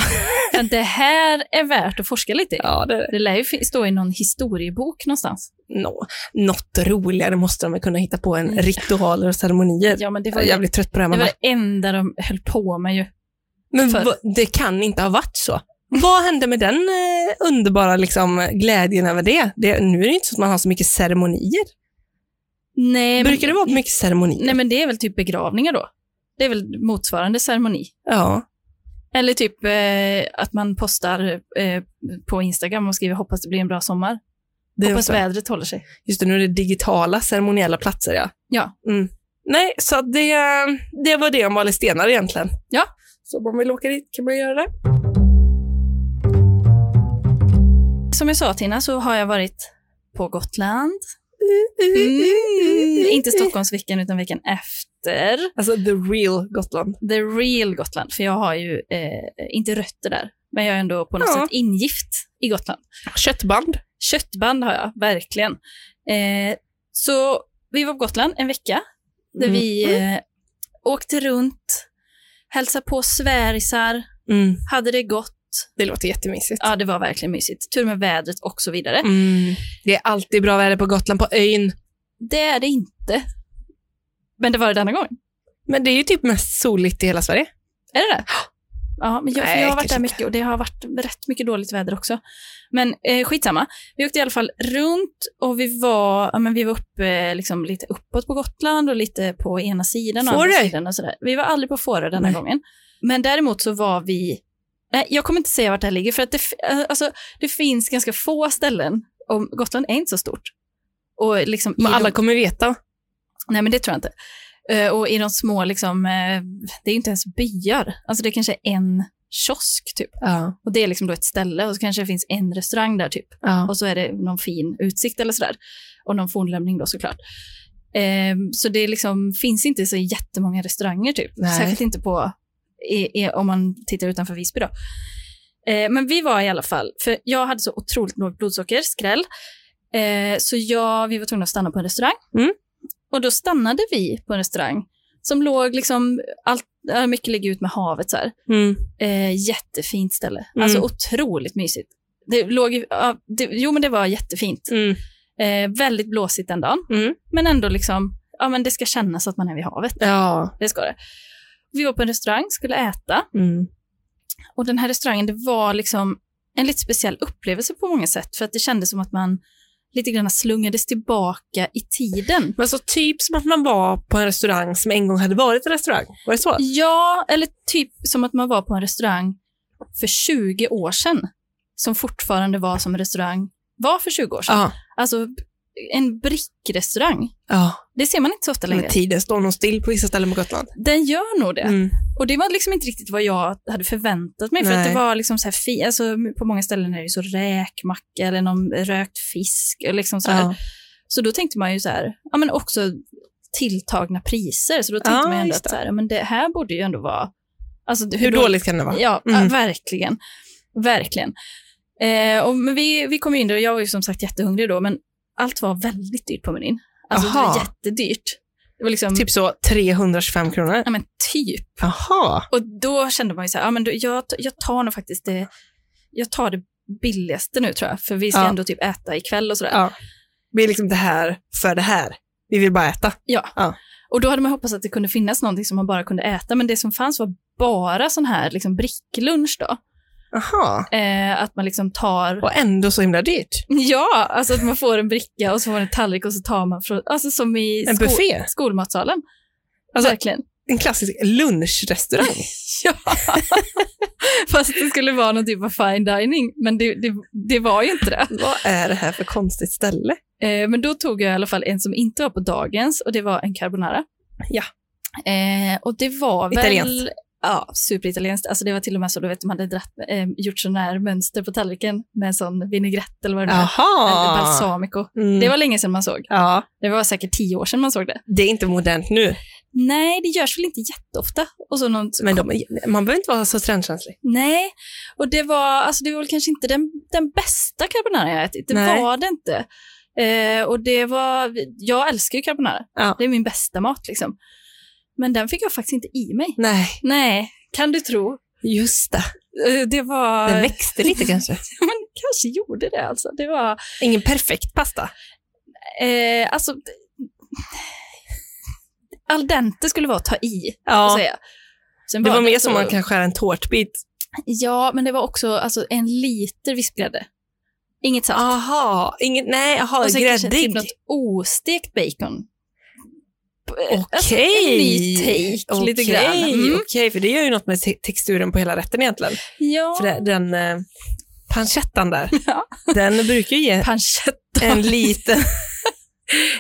Men det här är värt att forska lite i. ja det är det. Det lär ju fin- stå i någon historiebok någonstans. Nå- Något roligare måste de väl kunna hitta på än Mm. ritualer och ceremonier. Ja, men det var, Jag är det jävligt trött på det här var mamma. det enda de höll på med ju. Men för- va, det kan inte ha varit så. Vad hände med den eh, underbara liksom, glädjen över det? det? Nu är det inte så att man har så mycket ceremonier. Nej, Brukar det vara mycket ceremonier? Nej, men det är väl typ begravningar då. Det är väl motsvarande ceremoni. Ja. Eller typ eh, att man postar eh, på Instagram och skriver hoppas det blir en bra sommar. Det är hoppas också- vädret håller sig. Just det, nu är det digitala ceremoniella platser, ja. Ja. Mm. Nej, så att det, det var det om Ale stenar egentligen. Ja. Så om man vill åka dit kan man göra det. Som jag sa Tina så har jag varit på Gotland. Mm, inte Stockholmsveckan utan veckan efter. Alltså the real Gotland. The real Gotland, för jag har ju eh, inte rötter där. Men jag är ändå på något Ja. sätt ingift i Gotland. Köttband. Köttband har jag, verkligen. Eh, så vi var på Gotland en vecka där Mm. vi eh, åkte runt, hälsade på svärisar, Mm. hade det gott. Det låter jättemysigt. Ja, det var verkligen mysigt. Tur med vädret och så vidare. Mm. Det är alltid bra väder på Gotland, på ön. Det är det inte. Men det var det denna gång. Men det är ju typ mest soligt i hela Sverige. Är det det? Ja, men jag, för Nej, jag har kanske varit där inte. mycket och det har varit rätt mycket dåligt väder också. Men eh, skitsamma. Vi åkte i alla fall runt och vi var, ja, men vi var uppe, eh, liksom, lite uppåt på Gotland och lite på ena sidan och andra Fårö. sidan. Och sådär. Vi var aldrig på Fårö denna Nej. gången. Men däremot så var vi, nej, jag kommer inte säga vart det här ligger för att det, f- eh, alltså, det finns ganska få ställen och Gotland är inte så stort. Och liksom i Men de- alla kommer veta. Nej, men det tror jag inte. Eh, Och i de små, liksom, eh, det är ju inte ens byar. Alltså det kanske är en kiosk typ. Ja. Och det är liksom då ett ställe och så kanske det finns en restaurang där typ. ja. Och så är det någon fin utsikt eller sådär. Och någon fornlämning då såklart. Ehm, så det är liksom, finns inte så jättemånga restauranger typ. Nej. Särskilt inte på, i, i, om man tittar utanför Visby då. Eh, men vi var i alla fall, för jag hade så otroligt lågt blodsocker, skräll. Eh, så jag, vi var tvungna att stanna på en restaurang. Mm. Och då stannade vi på en restaurang som låg liksom, allt, ja, mycket ligger ut med havet så här. Mm. Eh, jättefint ställe. Mm. Alltså otroligt mysigt. Det låg, ju- ja, det, jo, men det var jättefint. Mm. Eh, väldigt blåsigt den dagen, Mm. men ändå liksom, ja, men det ska kännas att man är vid havet. Ja. Det ska det. Vi var på en restaurang, skulle äta Mm. och den här restaurangen, det var liksom en lite speciell upplevelse på många sätt för att det kändes som att man lite grann slungades tillbaka i tiden. Men så typ som att man var på en restaurang som en gång hade varit en restaurang. Var det så? Ja, eller typ som att man var på en restaurang för 20 år sedan som fortfarande var som en restaurang var för 20 år sedan. Ja. Alltså en brickrestaurang. ja. Det ser man inte så ofta längre. Men tiden står nog still på vissa ställen på Gotland. Den gör nog det. Mm. Och det var liksom inte riktigt vad jag hade förväntat mig. För att det Nej. var liksom så här fi- alltså, på många ställen är det ju så räkmacka eller någon rökt fisk. och Liksom så, här. Ja. så då tänkte man ju så här, ja men också tilltagna priser. Så då tänkte Ja, man ju ändå just att det. så här, ja, men det här borde ju ändå vara... Alltså, Hur dåligt kan det vara? Ja, Mm. ja, verkligen. Verkligen. Eh, och, men vi, vi kom ju in där och jag var ju som sagt jättehungrig då, men allt var väldigt dyrt på menyn. Alltså det var Aha. jättedyrt. Det var liksom, typ. Typ så 325 kronor. ja men typ. Jaha. Och då kände man ju så här, ja men då, jag, t- jag tar nog faktiskt det, jag tar det billigaste nu tror jag, för vi ska Ja. ändå typ äta ikväll och sådär. Ja. Vi är liksom det här för det här. Vi vill bara äta. Och då hade man hoppats att det kunde finnas någonting som man bara kunde äta, men det som fanns var bara sån här liksom bricklunch då. Jaha. Eh, att man liksom tar Och ändå så himla dyrt. Ja, alltså att man får en bricka och så får man en tallrik och så tar man från, alltså som i En sko- buffé. skolmatsalen. Alltså- Verkligen. En klassisk lunchrestaurang. Ja. Fast det skulle vara någon typ av fine dining, men det, det, det var ju inte det. Vad är det här för konstigt ställe? Eh, men då tog jag i alla fall en som inte var på dagens och det var en carbonara. Ja. Eh, och det var väl... Italienskt. Ja, superitalienskt. Alltså det var till och med så, du vet, de hade dratt, eh, gjort sådana här mönster på tallriken med en sån vinägrett eller vad det nu är. Eller Jaha. balsamico. Ah. Mm. Det var länge sedan man såg. Ja, Det var säkert tio år sedan man såg det. det är inte modernt nu, Nej, det görs väl inte jätteofta. Och så någon, men de, man behöver inte vara så trendkänslig. Nej, och det var, alltså det var väl kanske inte den, den bästa carbonara jag ätit. Det Nej. var det inte. Eh, och det var, jag älskar ju carbonara. Ja. Det är min bästa mat liksom. Men den fick jag faktiskt inte i mig. Nej, Nej, kan du tro. just det. Eh, det var... Den växte lite kanske. Men kanske gjorde det alltså. Det var... Ingen perfekt pasta. Eh, alltså... Al dente skulle vara att ta i, att Ja, säga. Sen det Alltså, var mer inte som så- man kan skära en tårtbit. Ja, men det var också alltså, en liter vispgrädde. Inget saft. Aha, inget, nej, aha, och sen kanske typ gräddig. något ostekt bacon. Okej. Alltså, en ny take Okej, lite grann. Mm. Okej, för det gör ju något med te- texturen på hela rätten egentligen. Ja, För det, den eh, pancettan där, Ja. den brukar ju ge pancetta. en liten,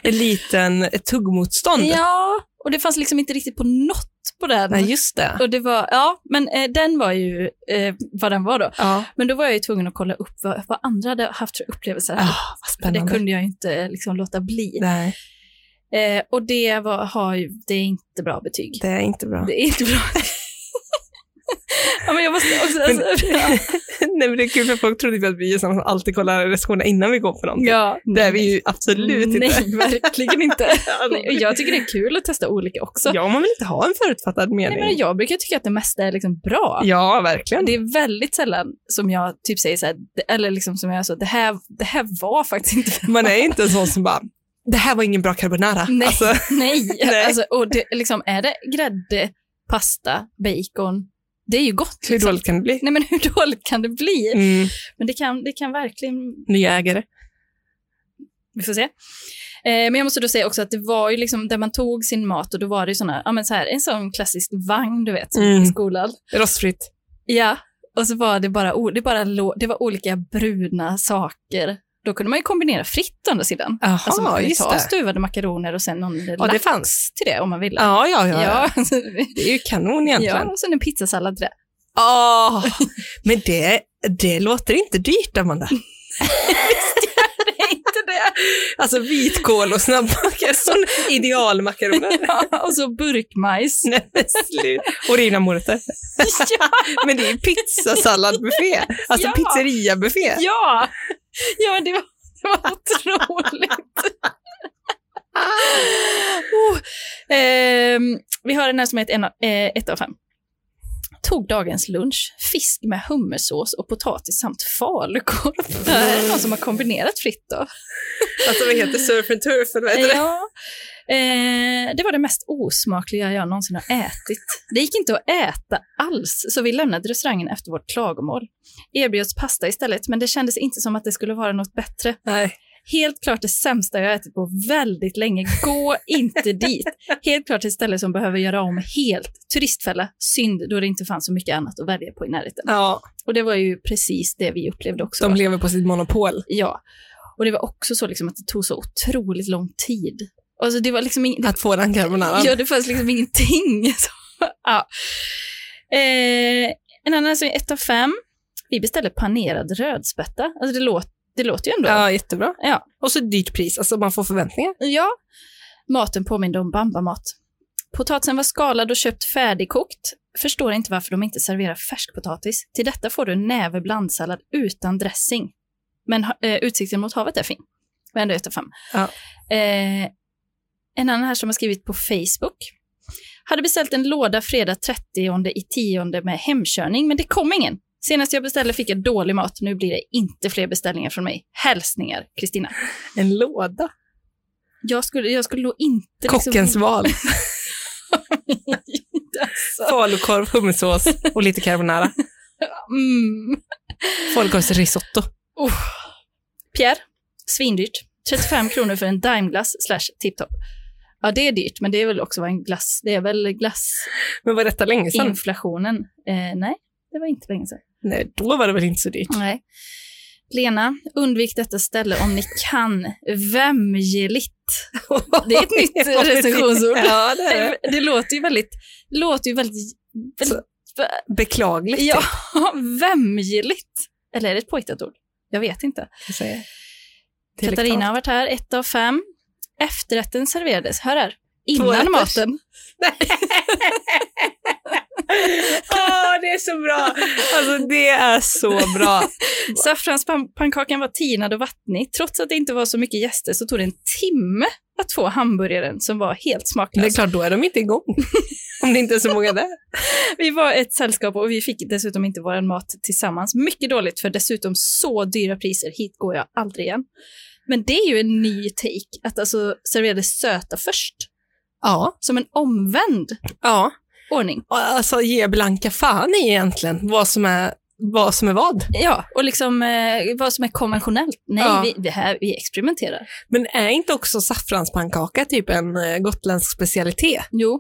en liten ett tuggmotstånd. Ja, och det fanns liksom inte riktigt på något på den. Nej, just det. och det var, ja, men eh, den var ju eh, vad den var då. Ja, Men då var jag ju tvungen att kolla upp vad, vad andra hade haft för upplevelser. ah, vad för det spännande. kunde jag ju inte eh, liksom låta bli. Nej, Eh, och det, var, har ju, det är inte bra betyg. det är inte bra. Det är inte bra. ja, men jag måste också... Men- Alltså, ja. Nej, men det är kul för folk trodde ju att vi är sådana som alltid kollar recensionerna innan vi går på någonting. ja. Det är vi ju absolut Nej, inte. verkligen inte. Nej, Aldrig. och jag tycker det är kul att testa olika också. Ja, man vill inte ha en förutfattad Nej, mening. men jag brukar tycka att det mesta är liksom bra. Ja, verkligen. Det är väldigt sällan som jag typ säger så här, det- eller liksom som jag sa, det här, det här var faktiskt inte Man är inte en sån som bara, det här var ingen bra carbonara. Nej. Alltså, Nej, Nej. Alltså, och det, liksom, är det grädde, pasta, bacon, det är ju gott. hur liksom. dåligt kan det bli? Nej, men hur dåligt kan det bli? Mm, Men det kan, det kan verkligen nya ägare. Vi får se. Eh, men jag måste då säga också att det var ju liksom där man tog sin mat och då var det ju såna, ja men så här, en sån klassisk vagn du vet, som Mm. i skolan. Rostfritt. Ja, och så var det bara, o- det bara lå- det var olika bruna saker Då kunde man ju kombinera fritt å andra sidan. Jaha, Alltså man kunde Ah, just ta det. stuvade makaroner och sen någon Ja, det lax fanns. till det om man ville. Ja, ja, ja. ja. Det är ju kanon ja egentligen. och sen en pizzasallad till det. Ja. men det, det låter inte dyrt, Amanda. Det är inte det. Alltså vitkål och snabbmakaroner, sån idealmakaroner. Ja, och så burkmajs. Nej, men sluta. Och rivna morötter. Men det är ju pizzasalladbuffé, alltså Ja. pizzeriabuffé. Ja, ja det, var, det var otroligt. oh. ehm, vi har den här som heter en, av- eh, ett av fem. Tog dagens lunch, fisk med hummersås och potatis samt falukorv. Det här är någon som har kombinerat fritt då. Alltså vad heter surf and turf eller vad heter det? Ja. Eh, det var det mest osmakliga jag någonsin har ätit. Det gick inte att äta alls, så vi lämnade restaurangen efter vårt klagomål. Erbjöds pasta istället, men det kändes inte som att det skulle vara något bättre. Nej. Helt klart det sämsta jag ätit på väldigt länge. Gå inte dit. Helt klart ett ställe som behöver göra om helt. Turistfälla. Synd, då det inte fanns så mycket annat att välja på i närheten. Ja, Och det var ju precis det vi upplevde också. de lever på sitt monopol. Ja. Och det var också så liksom att det tog så otroligt lång tid. Alltså det var liksom ing- det, Att få den carbonaran. ja, det fanns liksom ingenting. Så, ja. eh, en annan som är ett av fem. Vi beställde panerad rödspätta. Alltså det, låt, det låter ju ändå. Ja, jättebra. Ja. Och så ett dyrt pris, alltså man får förväntningar. Ja. Maten påminde om bambamat. Potatisen var skalad och köpt färdigkokt. Förstår inte varför de inte serverar färskpotatis. Till detta får du en näve blandsallad utan dressing. Men ha- eh, utsikten mot havet är fin. Men ändå ett av fem. Ja. Eh, en annan här som har skrivit på Facebook. Hade beställt en låda fredag 30 i 10 med hemkörning, men det kom ingen. Senast jag beställde fick jag dålig mat. Nu blir det inte fler beställningar från mig. Hälsningar, Kristina. En låda. liksom- Jag skulle, jag skulle nog inte... liksom Kockens val. alltså, Falukorv, hummersås och lite carbonara. mm. Falukorvsrisotto. oh. Pierre, svindyrt. 35 kronor för en dimeglass slash tiptop. Ja, det är dyrt, men det är väl också vad en glass... Det är väl Men var detta länge sedan? glassinflationen. Eh, nej, det var inte länge sedan. Nej, då var det väl inte så dyrt. Nej. Lena, undvik detta ställe om ni kan. Vämjeligt. Det är ett nytt recensionsord. Ja, det är det. Det låter ju väldigt... Det låter ju väldigt... väldigt Beklagligt. Ja, vämjeligt. Eller är det ett påhittat ord? Jag vet inte. jag säger. Katarina har varit här, ett av fem. Efterrätten serverades, hör här, Tvårätters. innan maten. Åh, det är så bra! Alltså det är så bra. Saffranspannkakan var tinad och vattnig. Trots att det inte var så mycket gäster så tog det en timme att få hamburgaren som var helt Det är smaklös. klart, då är de inte igång. Om det inte är så många där. Vi var ett sällskap och vi fick dessutom inte vår mat tillsammans. Mycket dåligt för dessutom så dyra priser. Hit går jag aldrig igen. Men det är ju en ny take, att alltså serverades söta först. Ja. Som en omvänd ja. ordning. Och Alltså ge blanka fan i egentligen vad som är vad. Som är vad. Ja, och liksom eh, vad som är konventionellt. Nej, Ja. vi, det här, vi experimenterar. Men är inte också saffranspannkaka typ en eh, gotländsk specialitet? Jo.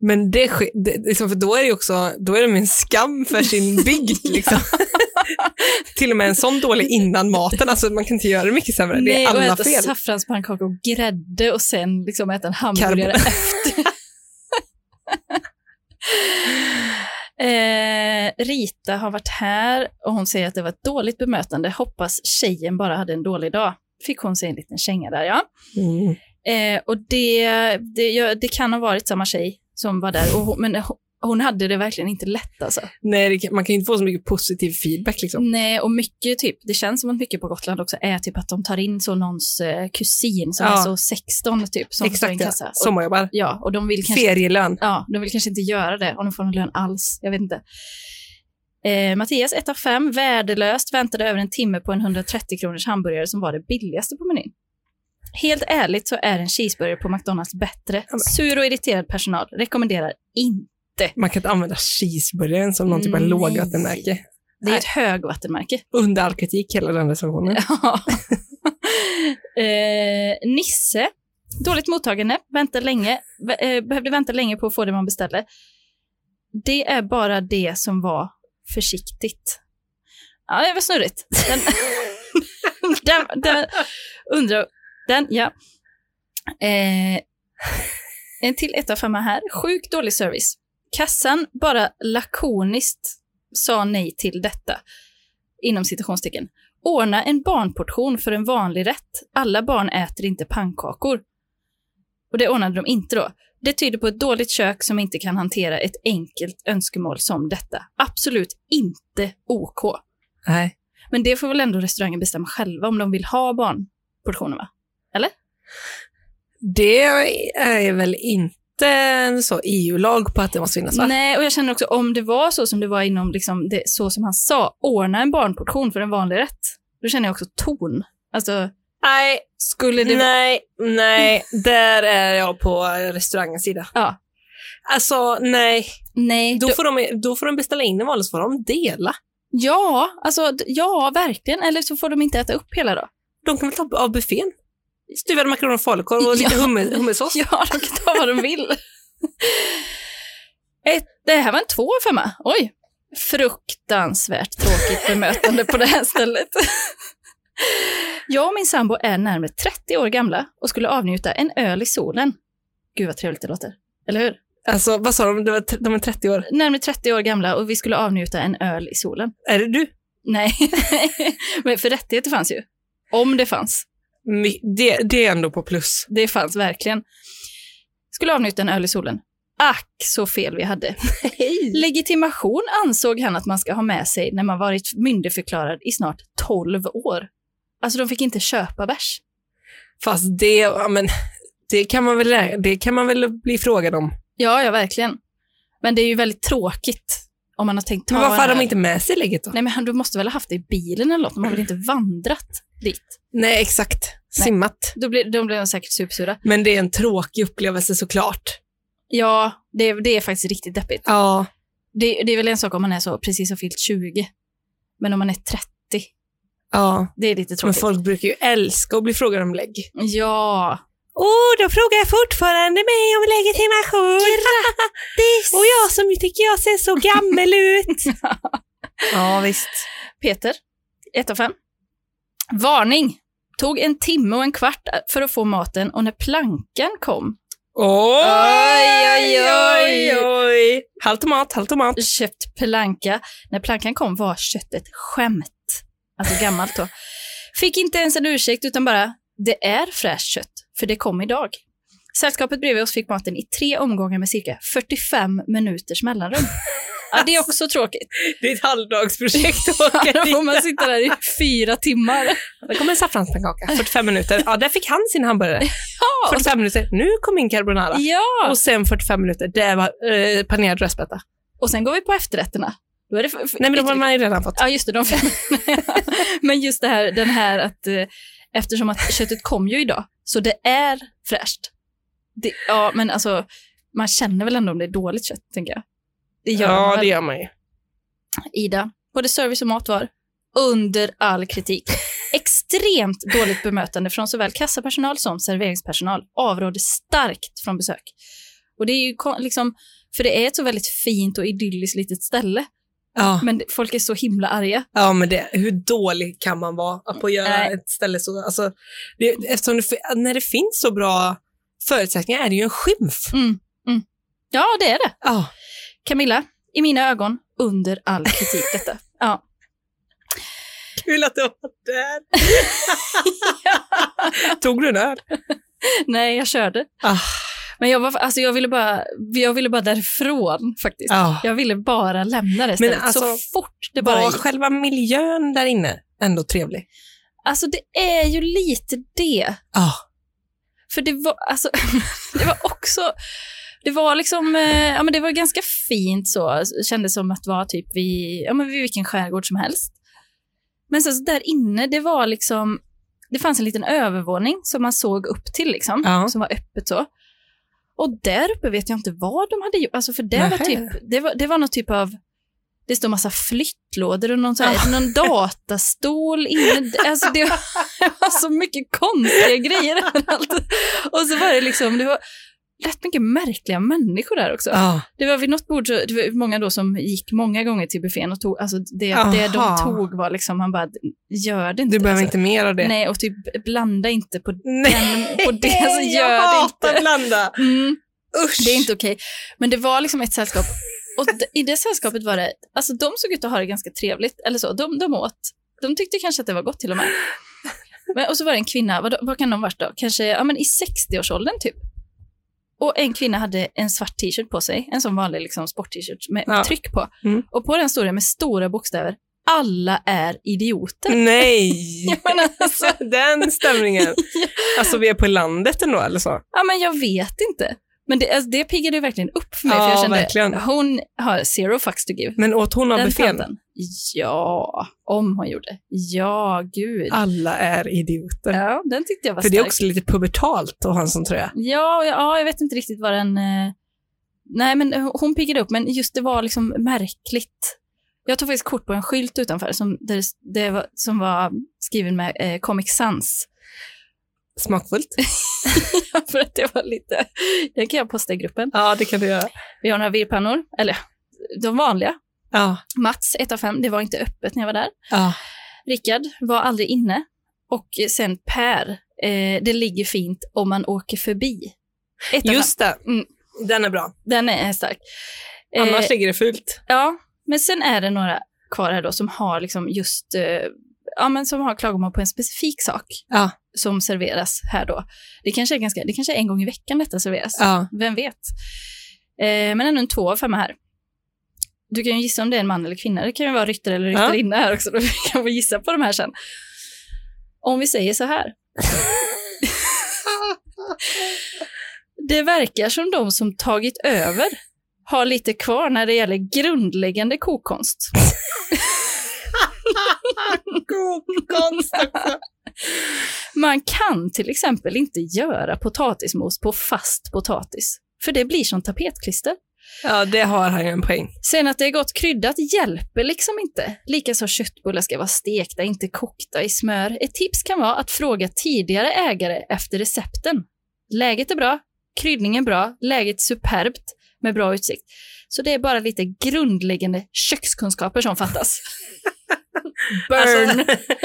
Men det, ske- det liksom, för då är det ju också, då är det en skam för sin bygd liksom. Till och med en sån dålig innan maten, alltså man kan inte göra det mycket sämre. det Nej, är och alla äta fel. saffranspannkaka och grädde och sen liksom äta en hamburgare Karbo- efter. eh, Rita har varit här och hon säger att det var ett dåligt bemötande. Hoppas tjejen bara hade en dålig dag. Fick hon sig en liten känga där, ja. Mm. Eh, och det, det, ja, det kan ha varit samma tjej som var där, och hon, men hon- hon hade det verkligen inte lätt alltså. Nej, det, kan- man kan ju inte få så mycket positiv feedback liksom. Nej, och mycket typ, det känns som att mycket på Gotland också är typ att de tar in så någons eh, kusin som Ja. är så 16 typ, som står i en Exakt, kassa. ja. Och, sommarjobbar. ja, och de vill kanske Ferielön. Ja, de vill kanske inte göra det om de får någon lön alls. Jag vet inte. Eh, Mattias, 1 av 5, värdelöst, väntade över en timme på en 130 kronors hamburgare som var det billigaste på menyn. Helt ärligt så är en cheeseburgare på McDonalds bättre. men- Sur och irriterad personal rekommenderar inte. Man kan inte använda cheeseburgaren som någon typ av Mm, Nej. lågvattenmärke. Det är ett högvattenmärke. Under all kritik, hela den recensionen. Ja. eh, Nisse, dåligt mottagande, väntar länge, vä- eh, behövde vänta länge på att få det man beställde. Det är bara det som var försiktigt. Ja, det var snurrigt. Den, den, den, undrar, den, ja. Eh, en till etta och femma här. Sjukt dålig service. Kassan bara lakoniskt sa nej till detta. Inom citationstecken. Ordna en barnportion för en vanlig rätt. Alla barn äter inte pannkakor. Och det ordnade de inte då. Det tyder på ett dåligt kök som inte kan hantera ett enkelt önskemål som detta. Absolut inte OK. Nej. Men det får väl ändå restaurangen bestämma själva om de vill ha barnportioner, va? Det är väl inte en så EU-lag på att det måste finnas, va? Nej, och jag känner också om det var så som det var inom, liksom, det, så som han sa, ordna en barnportion för en vanlig rätt. Då känner jag också ton. Alltså, Nej, skulle det... nej, nej, där är jag på restaurangens sida. Ja. Alltså, nej. Nej. Då då- får, de, då får de beställa in en vanlig så får de dela. ja, alltså, d- ja, verkligen. Eller så får de inte äta upp hela då. De kan väl ta av buffén? Stuvade makaroner och falukorv och lite Ja. hummer, hummersås. Ja, de kan ta vad de vill. Ett, det här var en två femma. Oj. Fruktansvärt tråkigt bemötande på det här stället. Jag och min sambo är närmare 30 år gamla och skulle avnjuta en öl i solen. Gud vad trevligt det låter. Eller hur? Alltså, vad sa de? De var t- De är 30 år. Närmare 30 år gamla och vi skulle avnjuta en öl i solen. Är det du? Nej, men för rättigheter fanns ju. Om det fanns. My- Det, det är ändå på plus. Det fanns verkligen. Skulle avnjuta en öl i solen. Ack så fel vi hade. Legitimation ansåg han att man ska ha med sig när man varit myndigförklarad i snart 12 år. Alltså de fick inte köpa bärs. Fast det, ja, men, det, kan man väl, lä- det kan man väl bli frågad om. Ja, ja verkligen. Men det är ju väldigt tråkigt om man har tänkt ta Men varför en hade de öl. inte med sig lägget då? Nej men han- du måste väl ha haft det i bilen eller något, de har väl inte vandrat dit. Nej, exakt. Nej. Simmat. Då blir, de blir säkert supersura. Men det är en tråkig upplevelse såklart. Ja, det, det är faktiskt riktigt deppigt. Ja. Det, det är väl en sak om man är så precis har fyllt 20, men om man är 30, ja. det är lite Men tråkigt. folk brukar ju älska att bli frågade om lägg. Ja, Åh, oh, de frågar fortfarande mig om legitimation. Grattis! Och jag som tycker jag ser så gammal ut. ja, visst. Peter, 1 av 5. Varning! Tog en timme och en kvart för att få maten och när plankan kom, Oj, oj, oj. Halt tomat, halt tomat. köpt planka, när plankan kom var köttet skämt. Alltså gammalt då. Fick inte ens en ursäkt utan bara, det är fräscht kött, för det kom idag. Sällskapet bredvid oss fick maten i tre omgångar med cirka 45 minuters mellanrum. Ja, det är också tråkigt. Det är ett halvdagsprojekt att Ja, åka Då får dit. man sitta där i fyra timmar. Det kommer en saffranspannkaka, 45 minuter. Ja, där fick han sin hamburgare. 45 minuter. Nu kom min carbonara. Ja! Och sen 45 minuter, det var eh, panerad rödspätta. Och sen går vi på efterrätterna. Då är det f- f- Nej, men de har man ju redan fått. Ja, just det. De fem. men just det här, den här att eh, eftersom att köttet kom ju idag, så det är fräscht. Det, ja, men alltså, man känner väl ändå om det är dåligt kött, tänker jag. Det gör man ja, väl. det gör man ju. Ida, både service och mat var under all kritik. Extremt dåligt bemötande från såväl kassapersonal som serveringspersonal avråder starkt från besök. Och det är ju kon- liksom, för det är ett så väldigt fint och idylliskt litet ställe, Ja. men folk är så himla arga. Ja, men det, hur dålig kan man vara på att göra Nej. ett ställe så? Alltså, det, eftersom det, fi- när det finns så bra förutsättningar är det ju en skymf. Mm, mm. Ja, det är det. Ja. Camilla, i mina ögon, under all kritik detta. Ja. Kul att du var där. Tog du en öl? Nej, jag körde. Ah. Men jag, var, alltså, jag, ville bara, jag ville bara därifrån faktiskt. Ja. Jag ville bara lämna det stället så alltså, fort det bara Var gick. själva miljön där inne ändå trevlig? Alltså det är ju lite det. Ja. För det var, alltså, det var också, det var liksom, eh, ja men det var ganska fint så, kändes som att vara typ vid, ja men vid vilken skärgård som helst. Men sen så där inne, det var liksom, det fanns en liten övervåning som man såg upp till liksom, Ja. som var öppet så. Och där uppe vet jag inte vad de hade gjort, alltså för det var Nähä. typ, det var, det var någon typ av det stod massa flyttlådor och någon, så här, någon datastol inne. Alltså det, Alltså, var, det var så mycket konstiga grejer överallt. Och så var det liksom, det var, rätt mycket märkliga människor där också. Ja. Det var vid något bord, så, det var många då som gick många gånger till buffén och tog, alltså det, Aha. det de tog var liksom, han bara, gör det inte. Du behöver alltså. inte mer av det. Nej, och typ blanda inte på den, på det, alltså, Nej, gör jag det hatar inte. blanda. Mm. Usch. Det är inte okej. Men det var liksom ett sällskap. Och d- i det sällskapet var det, alltså de såg ut att ha det ganska trevligt, eller så, de, de åt. De tyckte kanske att det var gott till och med. Men, och så var det en kvinna, vad, vad kan de varit då? Kanske ja, men i 60-årsåldern typ. Och en kvinna hade en svart t-shirt på sig, en sån vanlig liksom, sport-t-shirt med, med Ja. tryck på. Mm. Och på den stod det med stora bokstäver, alla är idioter. Nej. Jag menar, alltså, Den stämningen. Alltså vi är på landet ändå eller så. ja men jag vet inte. Men det, alltså, det piggade ju verkligen upp för mig, för Ja, jag kände, verkligen. hon har zero fucks to give. Men åt hon av Den buffén? tanten? Ja, om hon gjorde. Ja, gud. Alla är idioter. Ja, den tyckte jag var Ah. För det stark. är också lite pubertalt att ha en sån tröja. Ja, ja, jag vet inte riktigt vad den... eh, Nej, men hon piggade upp, men just det var liksom märkligt. Jag tog faktiskt kort på en skylt utanför som, där det, det var, som var skriven med eh, Comic Sans. Smakfullt. För att det var lite... Den kan jag posta i gruppen. Ja, det kan du göra. Vi har några virrpannor, eller de vanliga. Ja. Mats, 1 av 5, det var inte öppet när jag var där. ja. Rickard var aldrig inne. Och sen Per, eh, det ligger fint om man åker förbi. Ett av fem. Just det. Mm. Den är bra. Den är stark. Eh, Annars ligger det fult. Ja, men sen är det några kvar här då som har liksom just, eh, ja men som har klagomål på en specifik sak Ja. som serveras här då. Det kanske är, ganska, det kanske är en gång i veckan detta serveras. Ja. Vem vet? Eh, men ändå en två av femma här. Du kan ju gissa om det är en man eller kvinna. Det kan ju vara ryttare eller Ja. ryttarinna här också. Då kan vi gissa på de här sen. Om vi säger så här. det verkar som de som tagit över har lite kvar när det gäller grundläggande kokonst. Konst. Man kan till exempel inte göra potatismos på fast potatis, för det blir som tapetklister. Ja, det har han ju en poäng. Sen att det är gott kryddat hjälper liksom inte. Likaså köttbullar ska vara stekta, inte kokta i smör. Ett tips kan vara att fråga tidigare ägare efter recepten. Läget är bra, kryddningen bra, läget superbt med bra utsikt. Så det är bara lite grundläggande kökskunskaper som fattas. Burn! Alltså,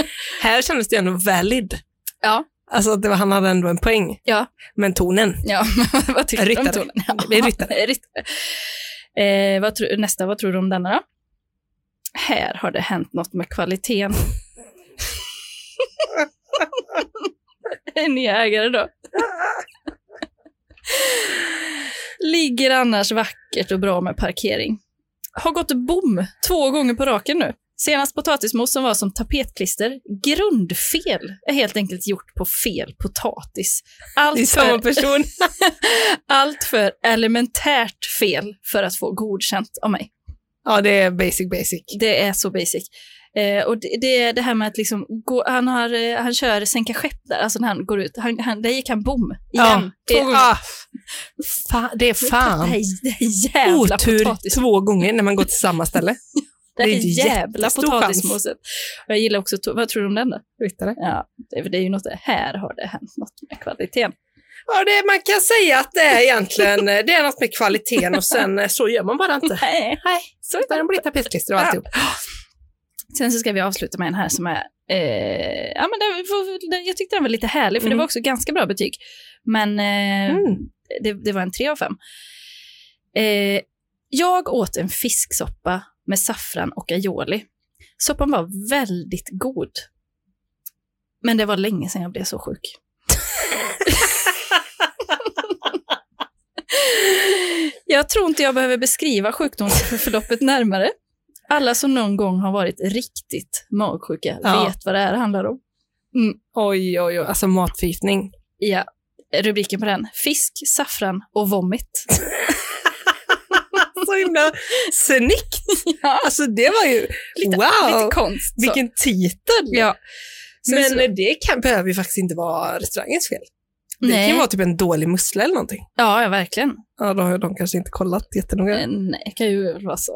här kändes det ändå valid. Ja. Alltså att det var, han hade ändå en poäng. Ja. Men tonen. Ja, men vad tyckte du om Ryttare. tonen? Det är ryttare. Ja, ryttare. Eh, vad tror- nästa, vad tror du om denna då? Här har det hänt något med kvaliteten. en ny ägare då. Ligger annars vackert och bra med parkering. Har gått bom två gånger på raken nu. Senast potatismos som var som tapetklister. Grundfel är helt enkelt gjort på fel potatis. Allt Det är för- samma person. allt för elementärt fel för att få godkänt av mig. Ja, det är basic basic. Det är så basic. Eh, och det, det är det här med att liksom gå, han, har, eh, han kör sänka skepp där, alltså när han går ut. Han, han, där gick han bom igen. det, två gånger. ah, fa, det är Det fan här, det här jävla otur potatis. två gånger när man går till samma ställe. Det här det är ju jävla jättestor chans. potatismoset. Och jag gillar också, to- vad tror du om den då? Ryttare. Ja, det, är- det är ju något, här har det hänt något med kvaliteten. Ja, det, man kan säga att det är egentligen eh, det är något med kvaliteten och sen eh, så gör man bara inte. Nej, så är det. Den blir tapetklister och Ja. alltihop. Sen så ska vi avsluta med en här som är... Eh, ja, men den, får- den, jag tyckte den var lite härlig, för det Mm. var också ganska bra betyg. Men eh, Mm. det, det var en tre av fem. Eh, jag åt en fisksoppa med saffran och aioli. Soppan var väldigt god. Men det var länge sedan jag blev så sjuk. jag tror inte jag behöver beskriva sjukdomsförloppet närmare. Alla som någon gång har varit riktigt magsjuka Ja. vet vad det här handlar om. Oj, oj, oj. Alltså matförgiftning. Ja, rubriken på den. Fisk, saffran och vomit. Så himla snyggt! Ja. Alltså det var ju, Lite, wow! lite konst. så. vilken titel! Ja. Sen Men så- eh, det kan, behöver ju faktiskt inte vara restaurangens fel. Det kan Nej. ju vara typ en dålig mussla eller någonting. Ja, ja, verkligen. Ja, då har de kanske inte kollat jättenoga. Eh, Nej, kan ju vara så.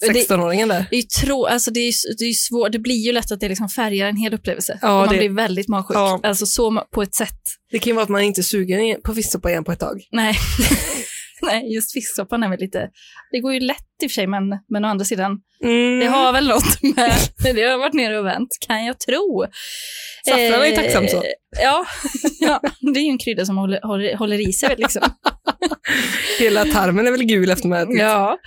Det, 16-åringen där. det, är ju tro, alltså det, är, ju- det är ju svårt, det blir ju lätt att det liksom färgar en hel upplevelse. Ja, och man det- blir väldigt magsjuk. Ja. Alltså så ma- på ett sätt. Det kan ju vara att man inte är sugen i- på fisksoppa igen på ett tag. Nej, Nej just fisksoppan är väl lite... Det går ju lätt i och för sig, men, men å andra sidan, Mm. det har väl något med... Det har varit nere och vänt, kan jag tro. Saffran är ju Eh, tacksam så. Ja, ja, det är ju en krydda som håller, håller, håller i sig. Liksom. Hela tarmen är väl gul efter man ätit. Ja.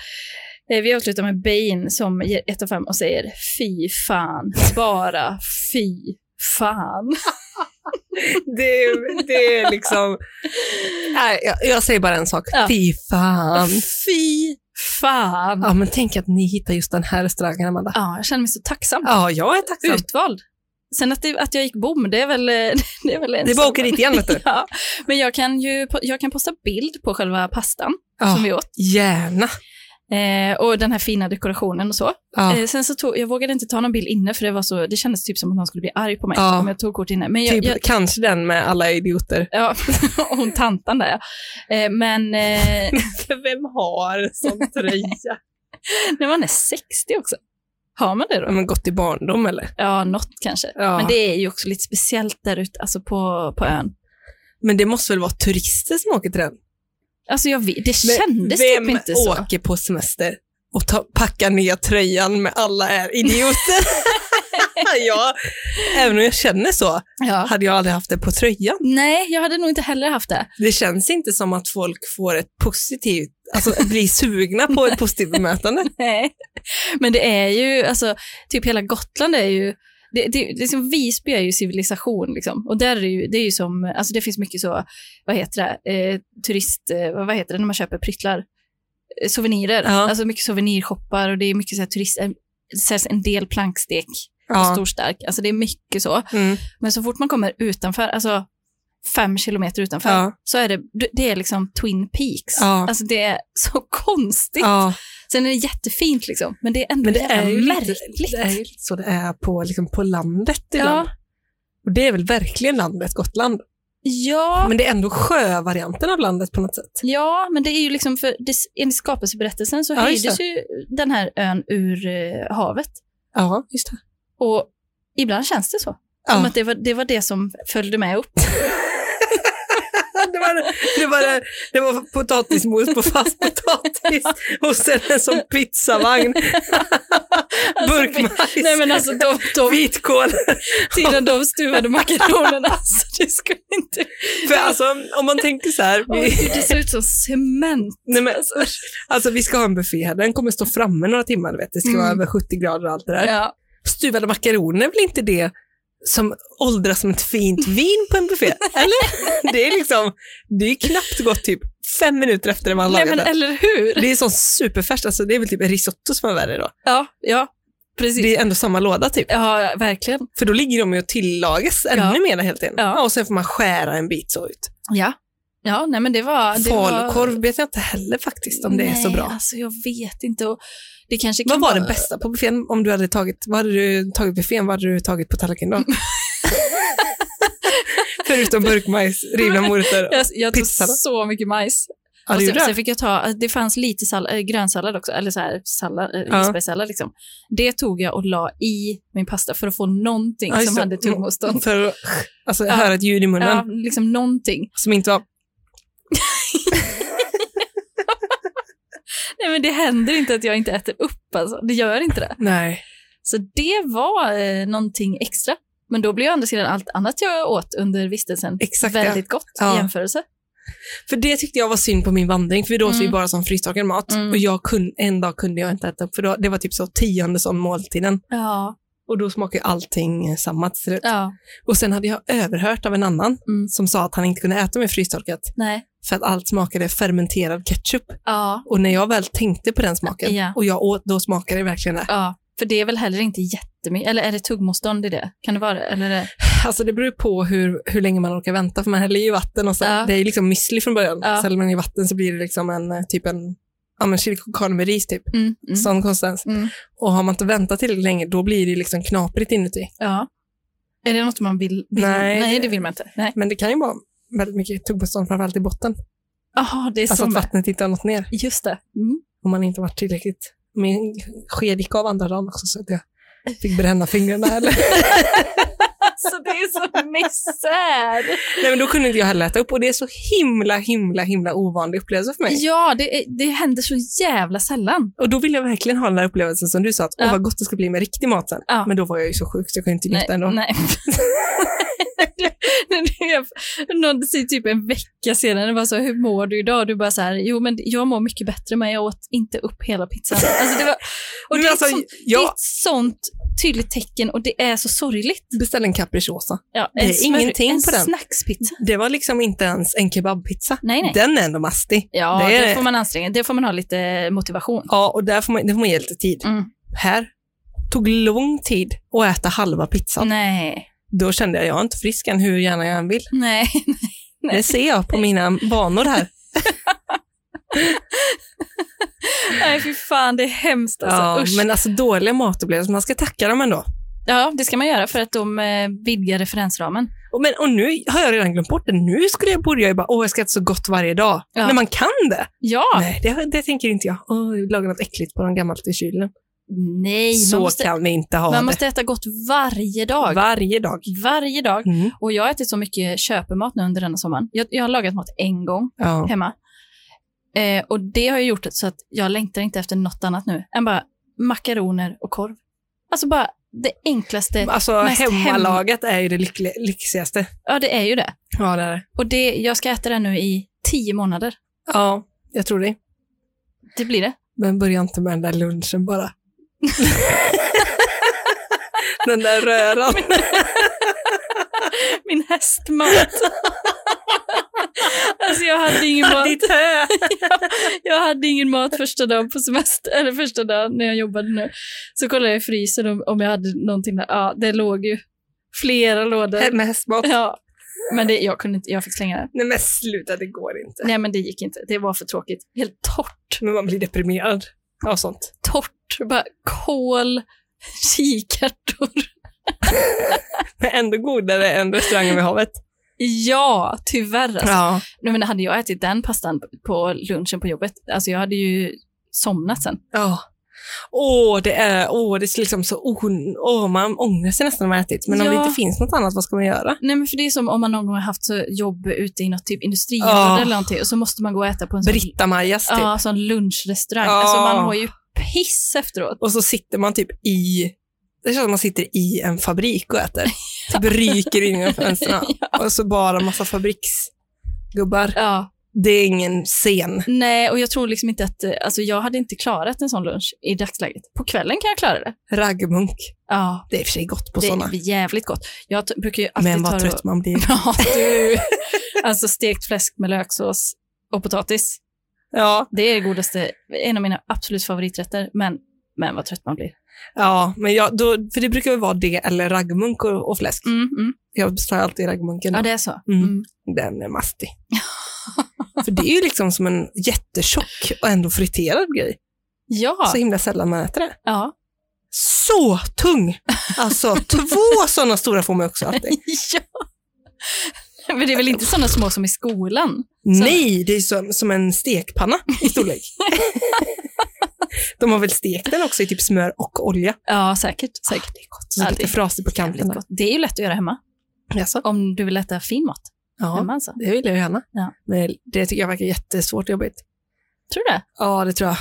Eh, Vi avslutar med Bane som ger ett av fem och säger fy fan, bara fy fan. Det, är- det är liksom... Nej, jag, jag säger bara en sak. Ja. Fy fan. Fy fan. Ja. Ja, men tänk att ni hittar just den här restaurangen, Amanda. jag känner mig så tacksam. Ja, jag är tacksam. Utvald. Sen att, det, att jag gick bom, det är väl, det är väl en Det är bara sak. att åka dit igen, vet du. Ja, men jag kan ju po- jag kan posta bild på själva pastan som Ja, vi åt gärna. eh, och den här fina dekorationen och så. Ja. Eh, sen så tog, jag vågade inte ta någon bild inne för det var så, det kändes typ som att någon skulle bli arg på mig Ja. om jag tog kort inne. Men jag, Ah. Typ, jag, Kanske den med alla idioter. Ja, hon tantan där ja. Eh, Men eh, Vem har en sån tröja? när man är 60 också, har man det Ja, då? men gått i barndom eller? Ja, något kanske. Ja. Men det är ju också lite speciellt där ute, alltså på, på ön. Men det måste väl vara turister som åker till den? Alltså jag vet, det Men kändes vem typ inte så. åker på semester och ta, packar ner tröjan med alla är idioter? ja, även om jag känner så, Ja. hade jag aldrig haft det på tröjan. Nej, jag hade nog inte heller haft det. Det känns inte som att folk får ett positivt, alltså blir sugna på ett positivt bemötande. Nej. Men det är ju, alltså, typ hela Gotland är ju, det, det, det är som Visby är ju civilisation liksom. Och där är det ju, det är ju som, alltså det finns mycket så, vad heter det, eh, turist, eh, vad vad heter det när man köper pryttlar? Eh, Souvenirer, Ja. alltså mycket souvenirshoppar och det är mycket så här turist, eh, det säljs en del plankstek och Ja. stor stark, alltså det är mycket så. Mm. Men så fort man kommer utanför, alltså fem kilometer utanför, Ja. så är det, det är liksom Twin Peaks. Ja. Alltså det är så konstigt. Ja. Sen är det jättefint liksom, men det är ändå Men det jävla är, ju lite, märkligt. det är ju lite så det är på, liksom på landet ibland. ja, Och det är väl verkligen landet, Gotland. ja, Men det är ändå sjövarianten av landet på något sätt. ja, men det är ju liksom, för det, enligt skapelseberättelsen så Ja, just höjdes ju den här ön ur eh, havet. Ja, just det. Och ibland känns det så. Som Ja. att det var, det var det som följde med upp. Det var, det, var, det var potatismos på fast potatis och sen en sån pizzavagn, burkmajs, Alltså, Nej men alltså de, de, vitkål. tiden de stuvade makaronerna, alltså det skulle inte... För alltså, om man tänker så här, Åh, vi, gud, det ser ut som cement. nej men, alltså, vi ska ha en buffé här, den kommer stå framme några timmar, du vet. det ska vara Mm. över 70 grader och allt det där. Ja. Stuvade makaroner är väl inte det som åldras som ett fint vin på en buffé, eller? Det är liksom, det är knappt gått typ fem minuter efter det man Nej lagat men det. eller hur? Det är sån superfärskt, alltså det är väl typ en risotto som är värre då. Ja, ja, precis. Det är ändå samma låda typ. Ja, verkligen. För då ligger de ju och tillagas ännu mer helt enkelt. Ja. Ja. Och sen får man skära en bit så ut. Ja. Ja, nej men det var... Det var- Falukorv vet jag inte heller faktiskt om det är så Nej, bra. Alltså, jag vet inte. Och det kanske Vad kan var vara- det bästa på buffén? Om du hade tagit, vad hade du tagit buffén? Vad hade du tagit på tallriken då? Förutom burkmajs, rivna morötter. Jag, jag tog Pizza då? så mycket majs. Ja, och det sen, gjorde sen jag. fick jag ta, det fanns lite sall- äh, grönsallad också, eller så här sallad, äh, Ja. isbergssallad liksom. Det tog jag och la i min pasta för att få någonting Ja, just som det. hade tuggmotstånd. För att alltså, Ja. höra ett ljud i munnen Ja, liksom någonting. som inte var... Nej men det händer inte att jag inte äter upp alltså. Det gör inte det. Nej. Så det var eh, någonting extra. Men då blir ju å andra sidan allt annat jag åt under vistelsen Exakt, ja. väldigt gott Ja. i jämförelse. För det tyckte jag var synd på min vandring, för då åt vi Mm. bara som frystorkad mat. Mm. Och jag kun, en dag kunde jag inte äta upp, för då, det var typ så tionde som måltiden. Ja. Och då smakar ju allting eh, samma till slut. ja. Och sen hade jag överhört av en annan Mm. som sa att han inte kunde äta med frystorkat Nej. för att allt smakade fermenterad ketchup. Ja. Och när jag väl tänkte på den smaken Ja. och jag åt, då smakade det verkligen det. Ja, för det är väl heller inte jättemycket, eller är det tuggmotstånd i det? Kan det vara det? Eller är det? Alltså det beror på hur, hur länge man orkar vänta, för man häller ju vatten och så. Ja. Det är ju liksom müsli från början. Ja. Så häller man i vatten så blir det liksom en eh, typ en, ja men chili con carne med ris typ. Mm, mm, Sån konsistens. mm. Och har man inte väntat tillräckligt länge, då blir det liksom knaprigt inuti. Ja. Är det något man vill? vill Nej. Nej, det vill man inte. Nej. Men det kan ju vara väldigt mycket tuggmotstånd, framförallt i botten. Jaha, det är Alltså så. att med. vattnet inte har nått ner. Just det. Mm. Om man inte varit tillräckligt... Min sked gick av andra dagen också så att jag fick bränna fingrarna. Eller? Alltså det är så misär. Nej, men då kunde inte jag heller äta upp och det är så himla, himla, himla ovanlig upplevelse för mig. Ja, det, är- det händer så jävla sällan. Och då ville jag verkligen ha den där upplevelsen som du sa, att Ja. åh vad gott det ska bli med riktig mat sen. Ja. Men då var jag ju så sjuk så jag kunde inte njuta ändå. nej. Det är- Någon säger typ en vecka senare, bara så, hur mår du idag? Du bara så här, jo men jag mår mycket bättre men jag åt inte upp hela pizzan. Alltså, det, var, och Men det, är alltså, ett sånt, det är jag ett sånt tydligt tecken och det är så sorgligt. beställde en capricciosa. Ja, Det är ingenting en på den. snackspizza. Det var liksom inte ens en kebabpizza. Nej, nej. Den är ändå mastig. Ja, Det det, är- får man anstränga. Det får man ha lite motivation. Ja, och där får man, det får man ge lite tid. Mm. Här tog lång tid att äta halva Mm. pizzan. Nej, Då kände jag, jag är inte frisk än hur gärna jag än vill. nej. Nej. Det ser jag på mina vanor här. Nej, fy fan, det är hemskt alltså. Ja, Usch. men alltså dåliga matupplevelser, man ska tacka dem ändå. Ja, det ska man göra för att de eh, vidgar referensramen. Och, men, och nu har jag redan glömt bort det. Nu skulle jag, borde jag ju bara, åh, jag ska äta så gott varje dag. Ja. När man kan det. Ja, nej, Nej, det, det tänker inte jag. Åh, jag lagar något äckligt på de gammalt i kylen. man, så måste, kan vi inte ha man det. måste äta gott varje dag. Varje dag. Varje dag. Mm. Och jag har ätit så mycket köpemat nu under denna sommaren. Jag, jag har lagat mat en gång Ja. hemma. Eh, och det har ju gjort det så att jag längtar inte efter något annat nu än bara makaroner och korv. Alltså bara det enklaste. Alltså Mest hem- hemmalagat är ju det lyckli- lyxigaste. Ja, det är ju det. Ja, det är det. Och det, jag ska äta det nu i tio månader. Ja, jag tror det. Det blir det. Men börja inte med den där lunchen bara. den där röran. Min hästmat. alltså jag hade ingen mat. Ditt hö. Jag hade ingen mat första dagen på semester, eller första dagen när jag jobbade nu. Så kollade jag i frysen om, om jag hade någonting där. Ja, det låg ju flera lådor. Med hästmat. Ja. Men det, jag, kunde inte, jag fick slänga det. Nej men sluta, det går inte. Nej, men det gick inte. Det var för tråkigt. Helt torrt. Men man blir deprimerad av sånt. Torrt. Bara kål, kikärtor. Men ändå godare än restaurangen vid havet. Ja, tyvärr. Alltså. Ja. Nej, men hade jag ätit den pastan på lunchen på jobbet, alltså jag hade ju somnat sen. Ja. Åh, det är, åh, det är liksom så on, åh, man ångrar sig nästan när man har ätit. Men om det Ja. inte finns något annat, vad ska man göra? Nej, men för det är som om man någon gång har haft så jobb ute i något typ industriområde Ja. eller någonting och så måste man gå och äta på en sån, Britta-Majas typ. ja, sån lunchrestaurang. Ja. Alltså man har ju piss efteråt. Och så sitter man typ i, det känns som man sitter i en fabrik och äter. Typ ryker in genom fönstren. Och så bara massa fabriksgubbar. Ja. Det är ingen scen. Nej, och jag tror liksom inte att, eh, alltså jag hade inte klarat en sån lunch i dagsläget. På kvällen kan jag klara det. Raggmunk. Ja, Det är i och för sig gott på det sådana. är jävligt gott. Jag t- brukar ju alltid Men ta vad det trött man blir. Ja, du. Alltså stekt fläsk med löksås och potatis. Ja, Det är det godaste, en av mina absolut favoriträtter, men, men vad trött man blir. ja men jag, då, för det brukar väl vara det eller raggmunk och, och fläsk. Mm, mm. Jag beställer alltid raggmunken. Ja, då. det är så. Mm. Mm. Den är mastig. för det är ju liksom som en jättetjock och ändå friterad grej. Ja, Så himla sällan man äter det. ja. så tung. Alltså två sådana stora får man också alltid. ja. Men det är väl inte sådana små som i skolan? Nej, det är som, som en stekpanna i storlek. De har väl stekt den också i typ smör och olja. Ja, säkert. säkert. det är gott. Så Ja, lite det är frasig på kanten. Jävligt där. gott. Det är ju lätt att göra hemma, Jaså? om du vill äta fin mat. Ja, Hemma alltså. det vill jag gärna. Ja. Men det tycker jag verkar jättesvårt och jobbigt. Tror du det? Ja, det tror jag.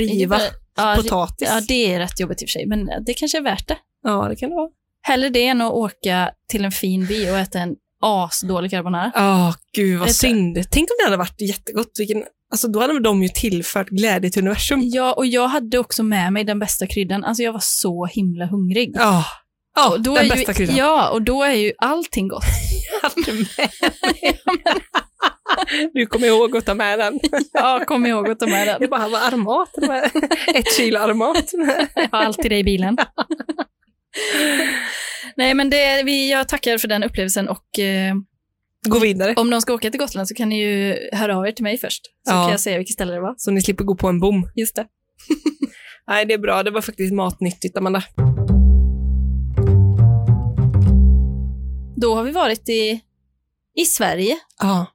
Riva typ Ja, ri- potatis. ja, det är rätt jobbigt i och för sig, men det kanske är värt det. Ja, det kan det vara. Hellre det än att åka till en fin by och äta en asdålig carbonara. Ja, gud vad Vet du- synd. Tänk om det hade varit jättegott. Vilken, alltså, då hade de ju tillfört glädje till universum. Ja, och jag hade också med mig den bästa kryddan. Alltså jag var så himla hungrig. Ja, ja Och då den är bästa ju, kryddan. Ja, och då är ju allting gott. hade med mig. Du kommer ihåg att ta med den. Ja, kom ihåg att ta med Det den. bara, vad armat. det var Ett kilo armat. Jag har alltid det i bilen. Nej, men det, vi, jag tackar för den upplevelsen och eh, Gå vidare. om någon ska åka till Gotland så kan ni ju höra av er till mig först. Så Ja. kan jag säga vilket ställe det var. Så ni slipper gå på en bom. Just det. Nej, det är bra. Det var faktiskt matnyttigt, Amanda. Då har vi varit i, i Sverige Ja.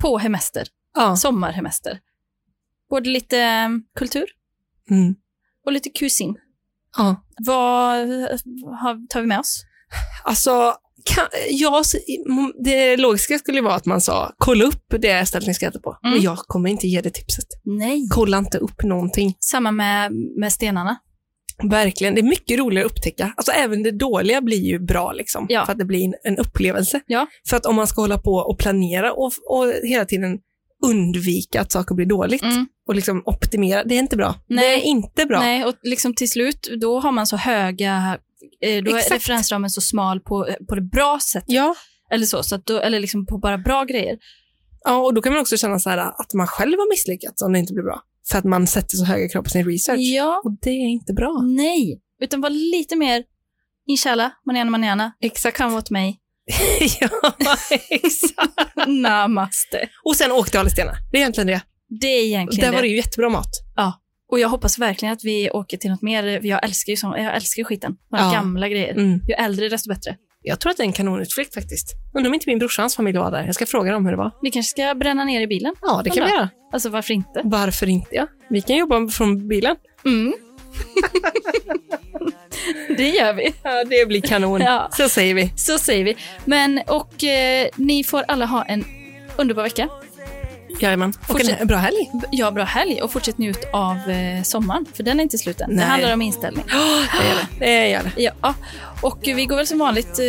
på hemester, Ja. sommarhemester. Både lite eh, kultur Mm. och lite kusin. ja. Vad har, tar vi med oss? Alltså, kan, ja, så- det logiska skulle ju vara att man sa kolla upp det stället ni ska äta på. Mm. Men jag kommer inte ge det tipset. Nej. Kolla inte upp någonting. Samma med, med stenarna. Verkligen. Det är mycket roligare att upptäcka. Alltså, även det dåliga blir ju bra liksom, Ja. för att det blir en, en upplevelse. Ja. För att om man ska hålla på och planera och, och hela tiden undvika att saker blir dåligt Mm. och liksom optimera, det är inte bra. Nej. Det är inte bra. Nej, och liksom till slut, då har man så höga, eh, då är Exakt. referensramen så smal på, eh, på det bra sättet. Ja. Eller så, så att då, eller liksom på bara bra grejer. ja, och då kan man också känna så här att man själv har misslyckats om det inte blir bra. För att man sätter så höga krav på sin research. Ja, Och det är inte bra. nej. Utan var lite mer, inshallah, manana manana, Exakt. come åt mig, ja, exakt. namaste. Och sen åkte jag alla stenar. Det är egentligen det. Det är egentligen Där var det. det ju jättebra mat. Och jag hoppas verkligen att vi åker till något mer, jag älskar ju sån, jag älskar ju skiten, våra Ja. gamla grejer. Mm. Ju äldre desto bättre. Jag tror att det är en kanonutflykt faktiskt. Undrar om inte min brorsa och hans familj var där. Jag ska fråga dem hur det var. Vi kanske ska bränna ner i bilen. Ja, det kan Undrar. vi göra. Alltså varför inte? Varför inte? Ja. Vi kan jobba från bilen. Mm. det gör vi. Ja, det blir kanon. Ja. Så säger vi. Så säger vi. Men och eh, ni får alla ha en underbar vecka. Jajamän. Och en Fortsätt. he- bra helg. B- Ja, bra helg och fortsätt njut av eh, sommaren, för den är inte slut än. Det Nej. handlar om inställning. Det Eh, gör det. Ja, och vi går väl som vanligt eh,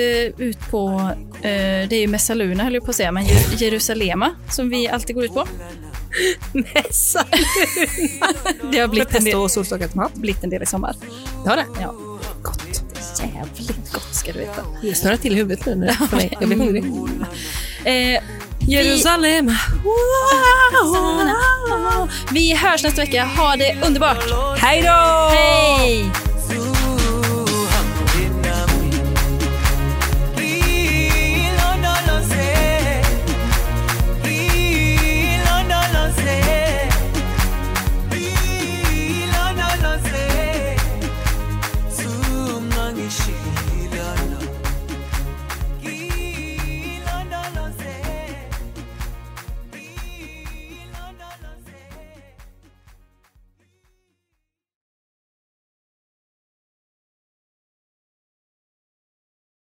ut på, eh, det är ju Messaluna höll jag på att säga, men Jer- Jerusalema som vi alltid går ut på. Mässa. Det har Med blivit en del, pesto och solstakat mat. blivit en del i sommar. Det har det. Ja. Gott. Jävligt gott ska du veta. Jag snurrar till i huvudet nu. när jag- för mig. Jag blir hungrig. Eh, Jerusalem. vi hörs nästa vecka. Ha det underbart. Hej då! Hej!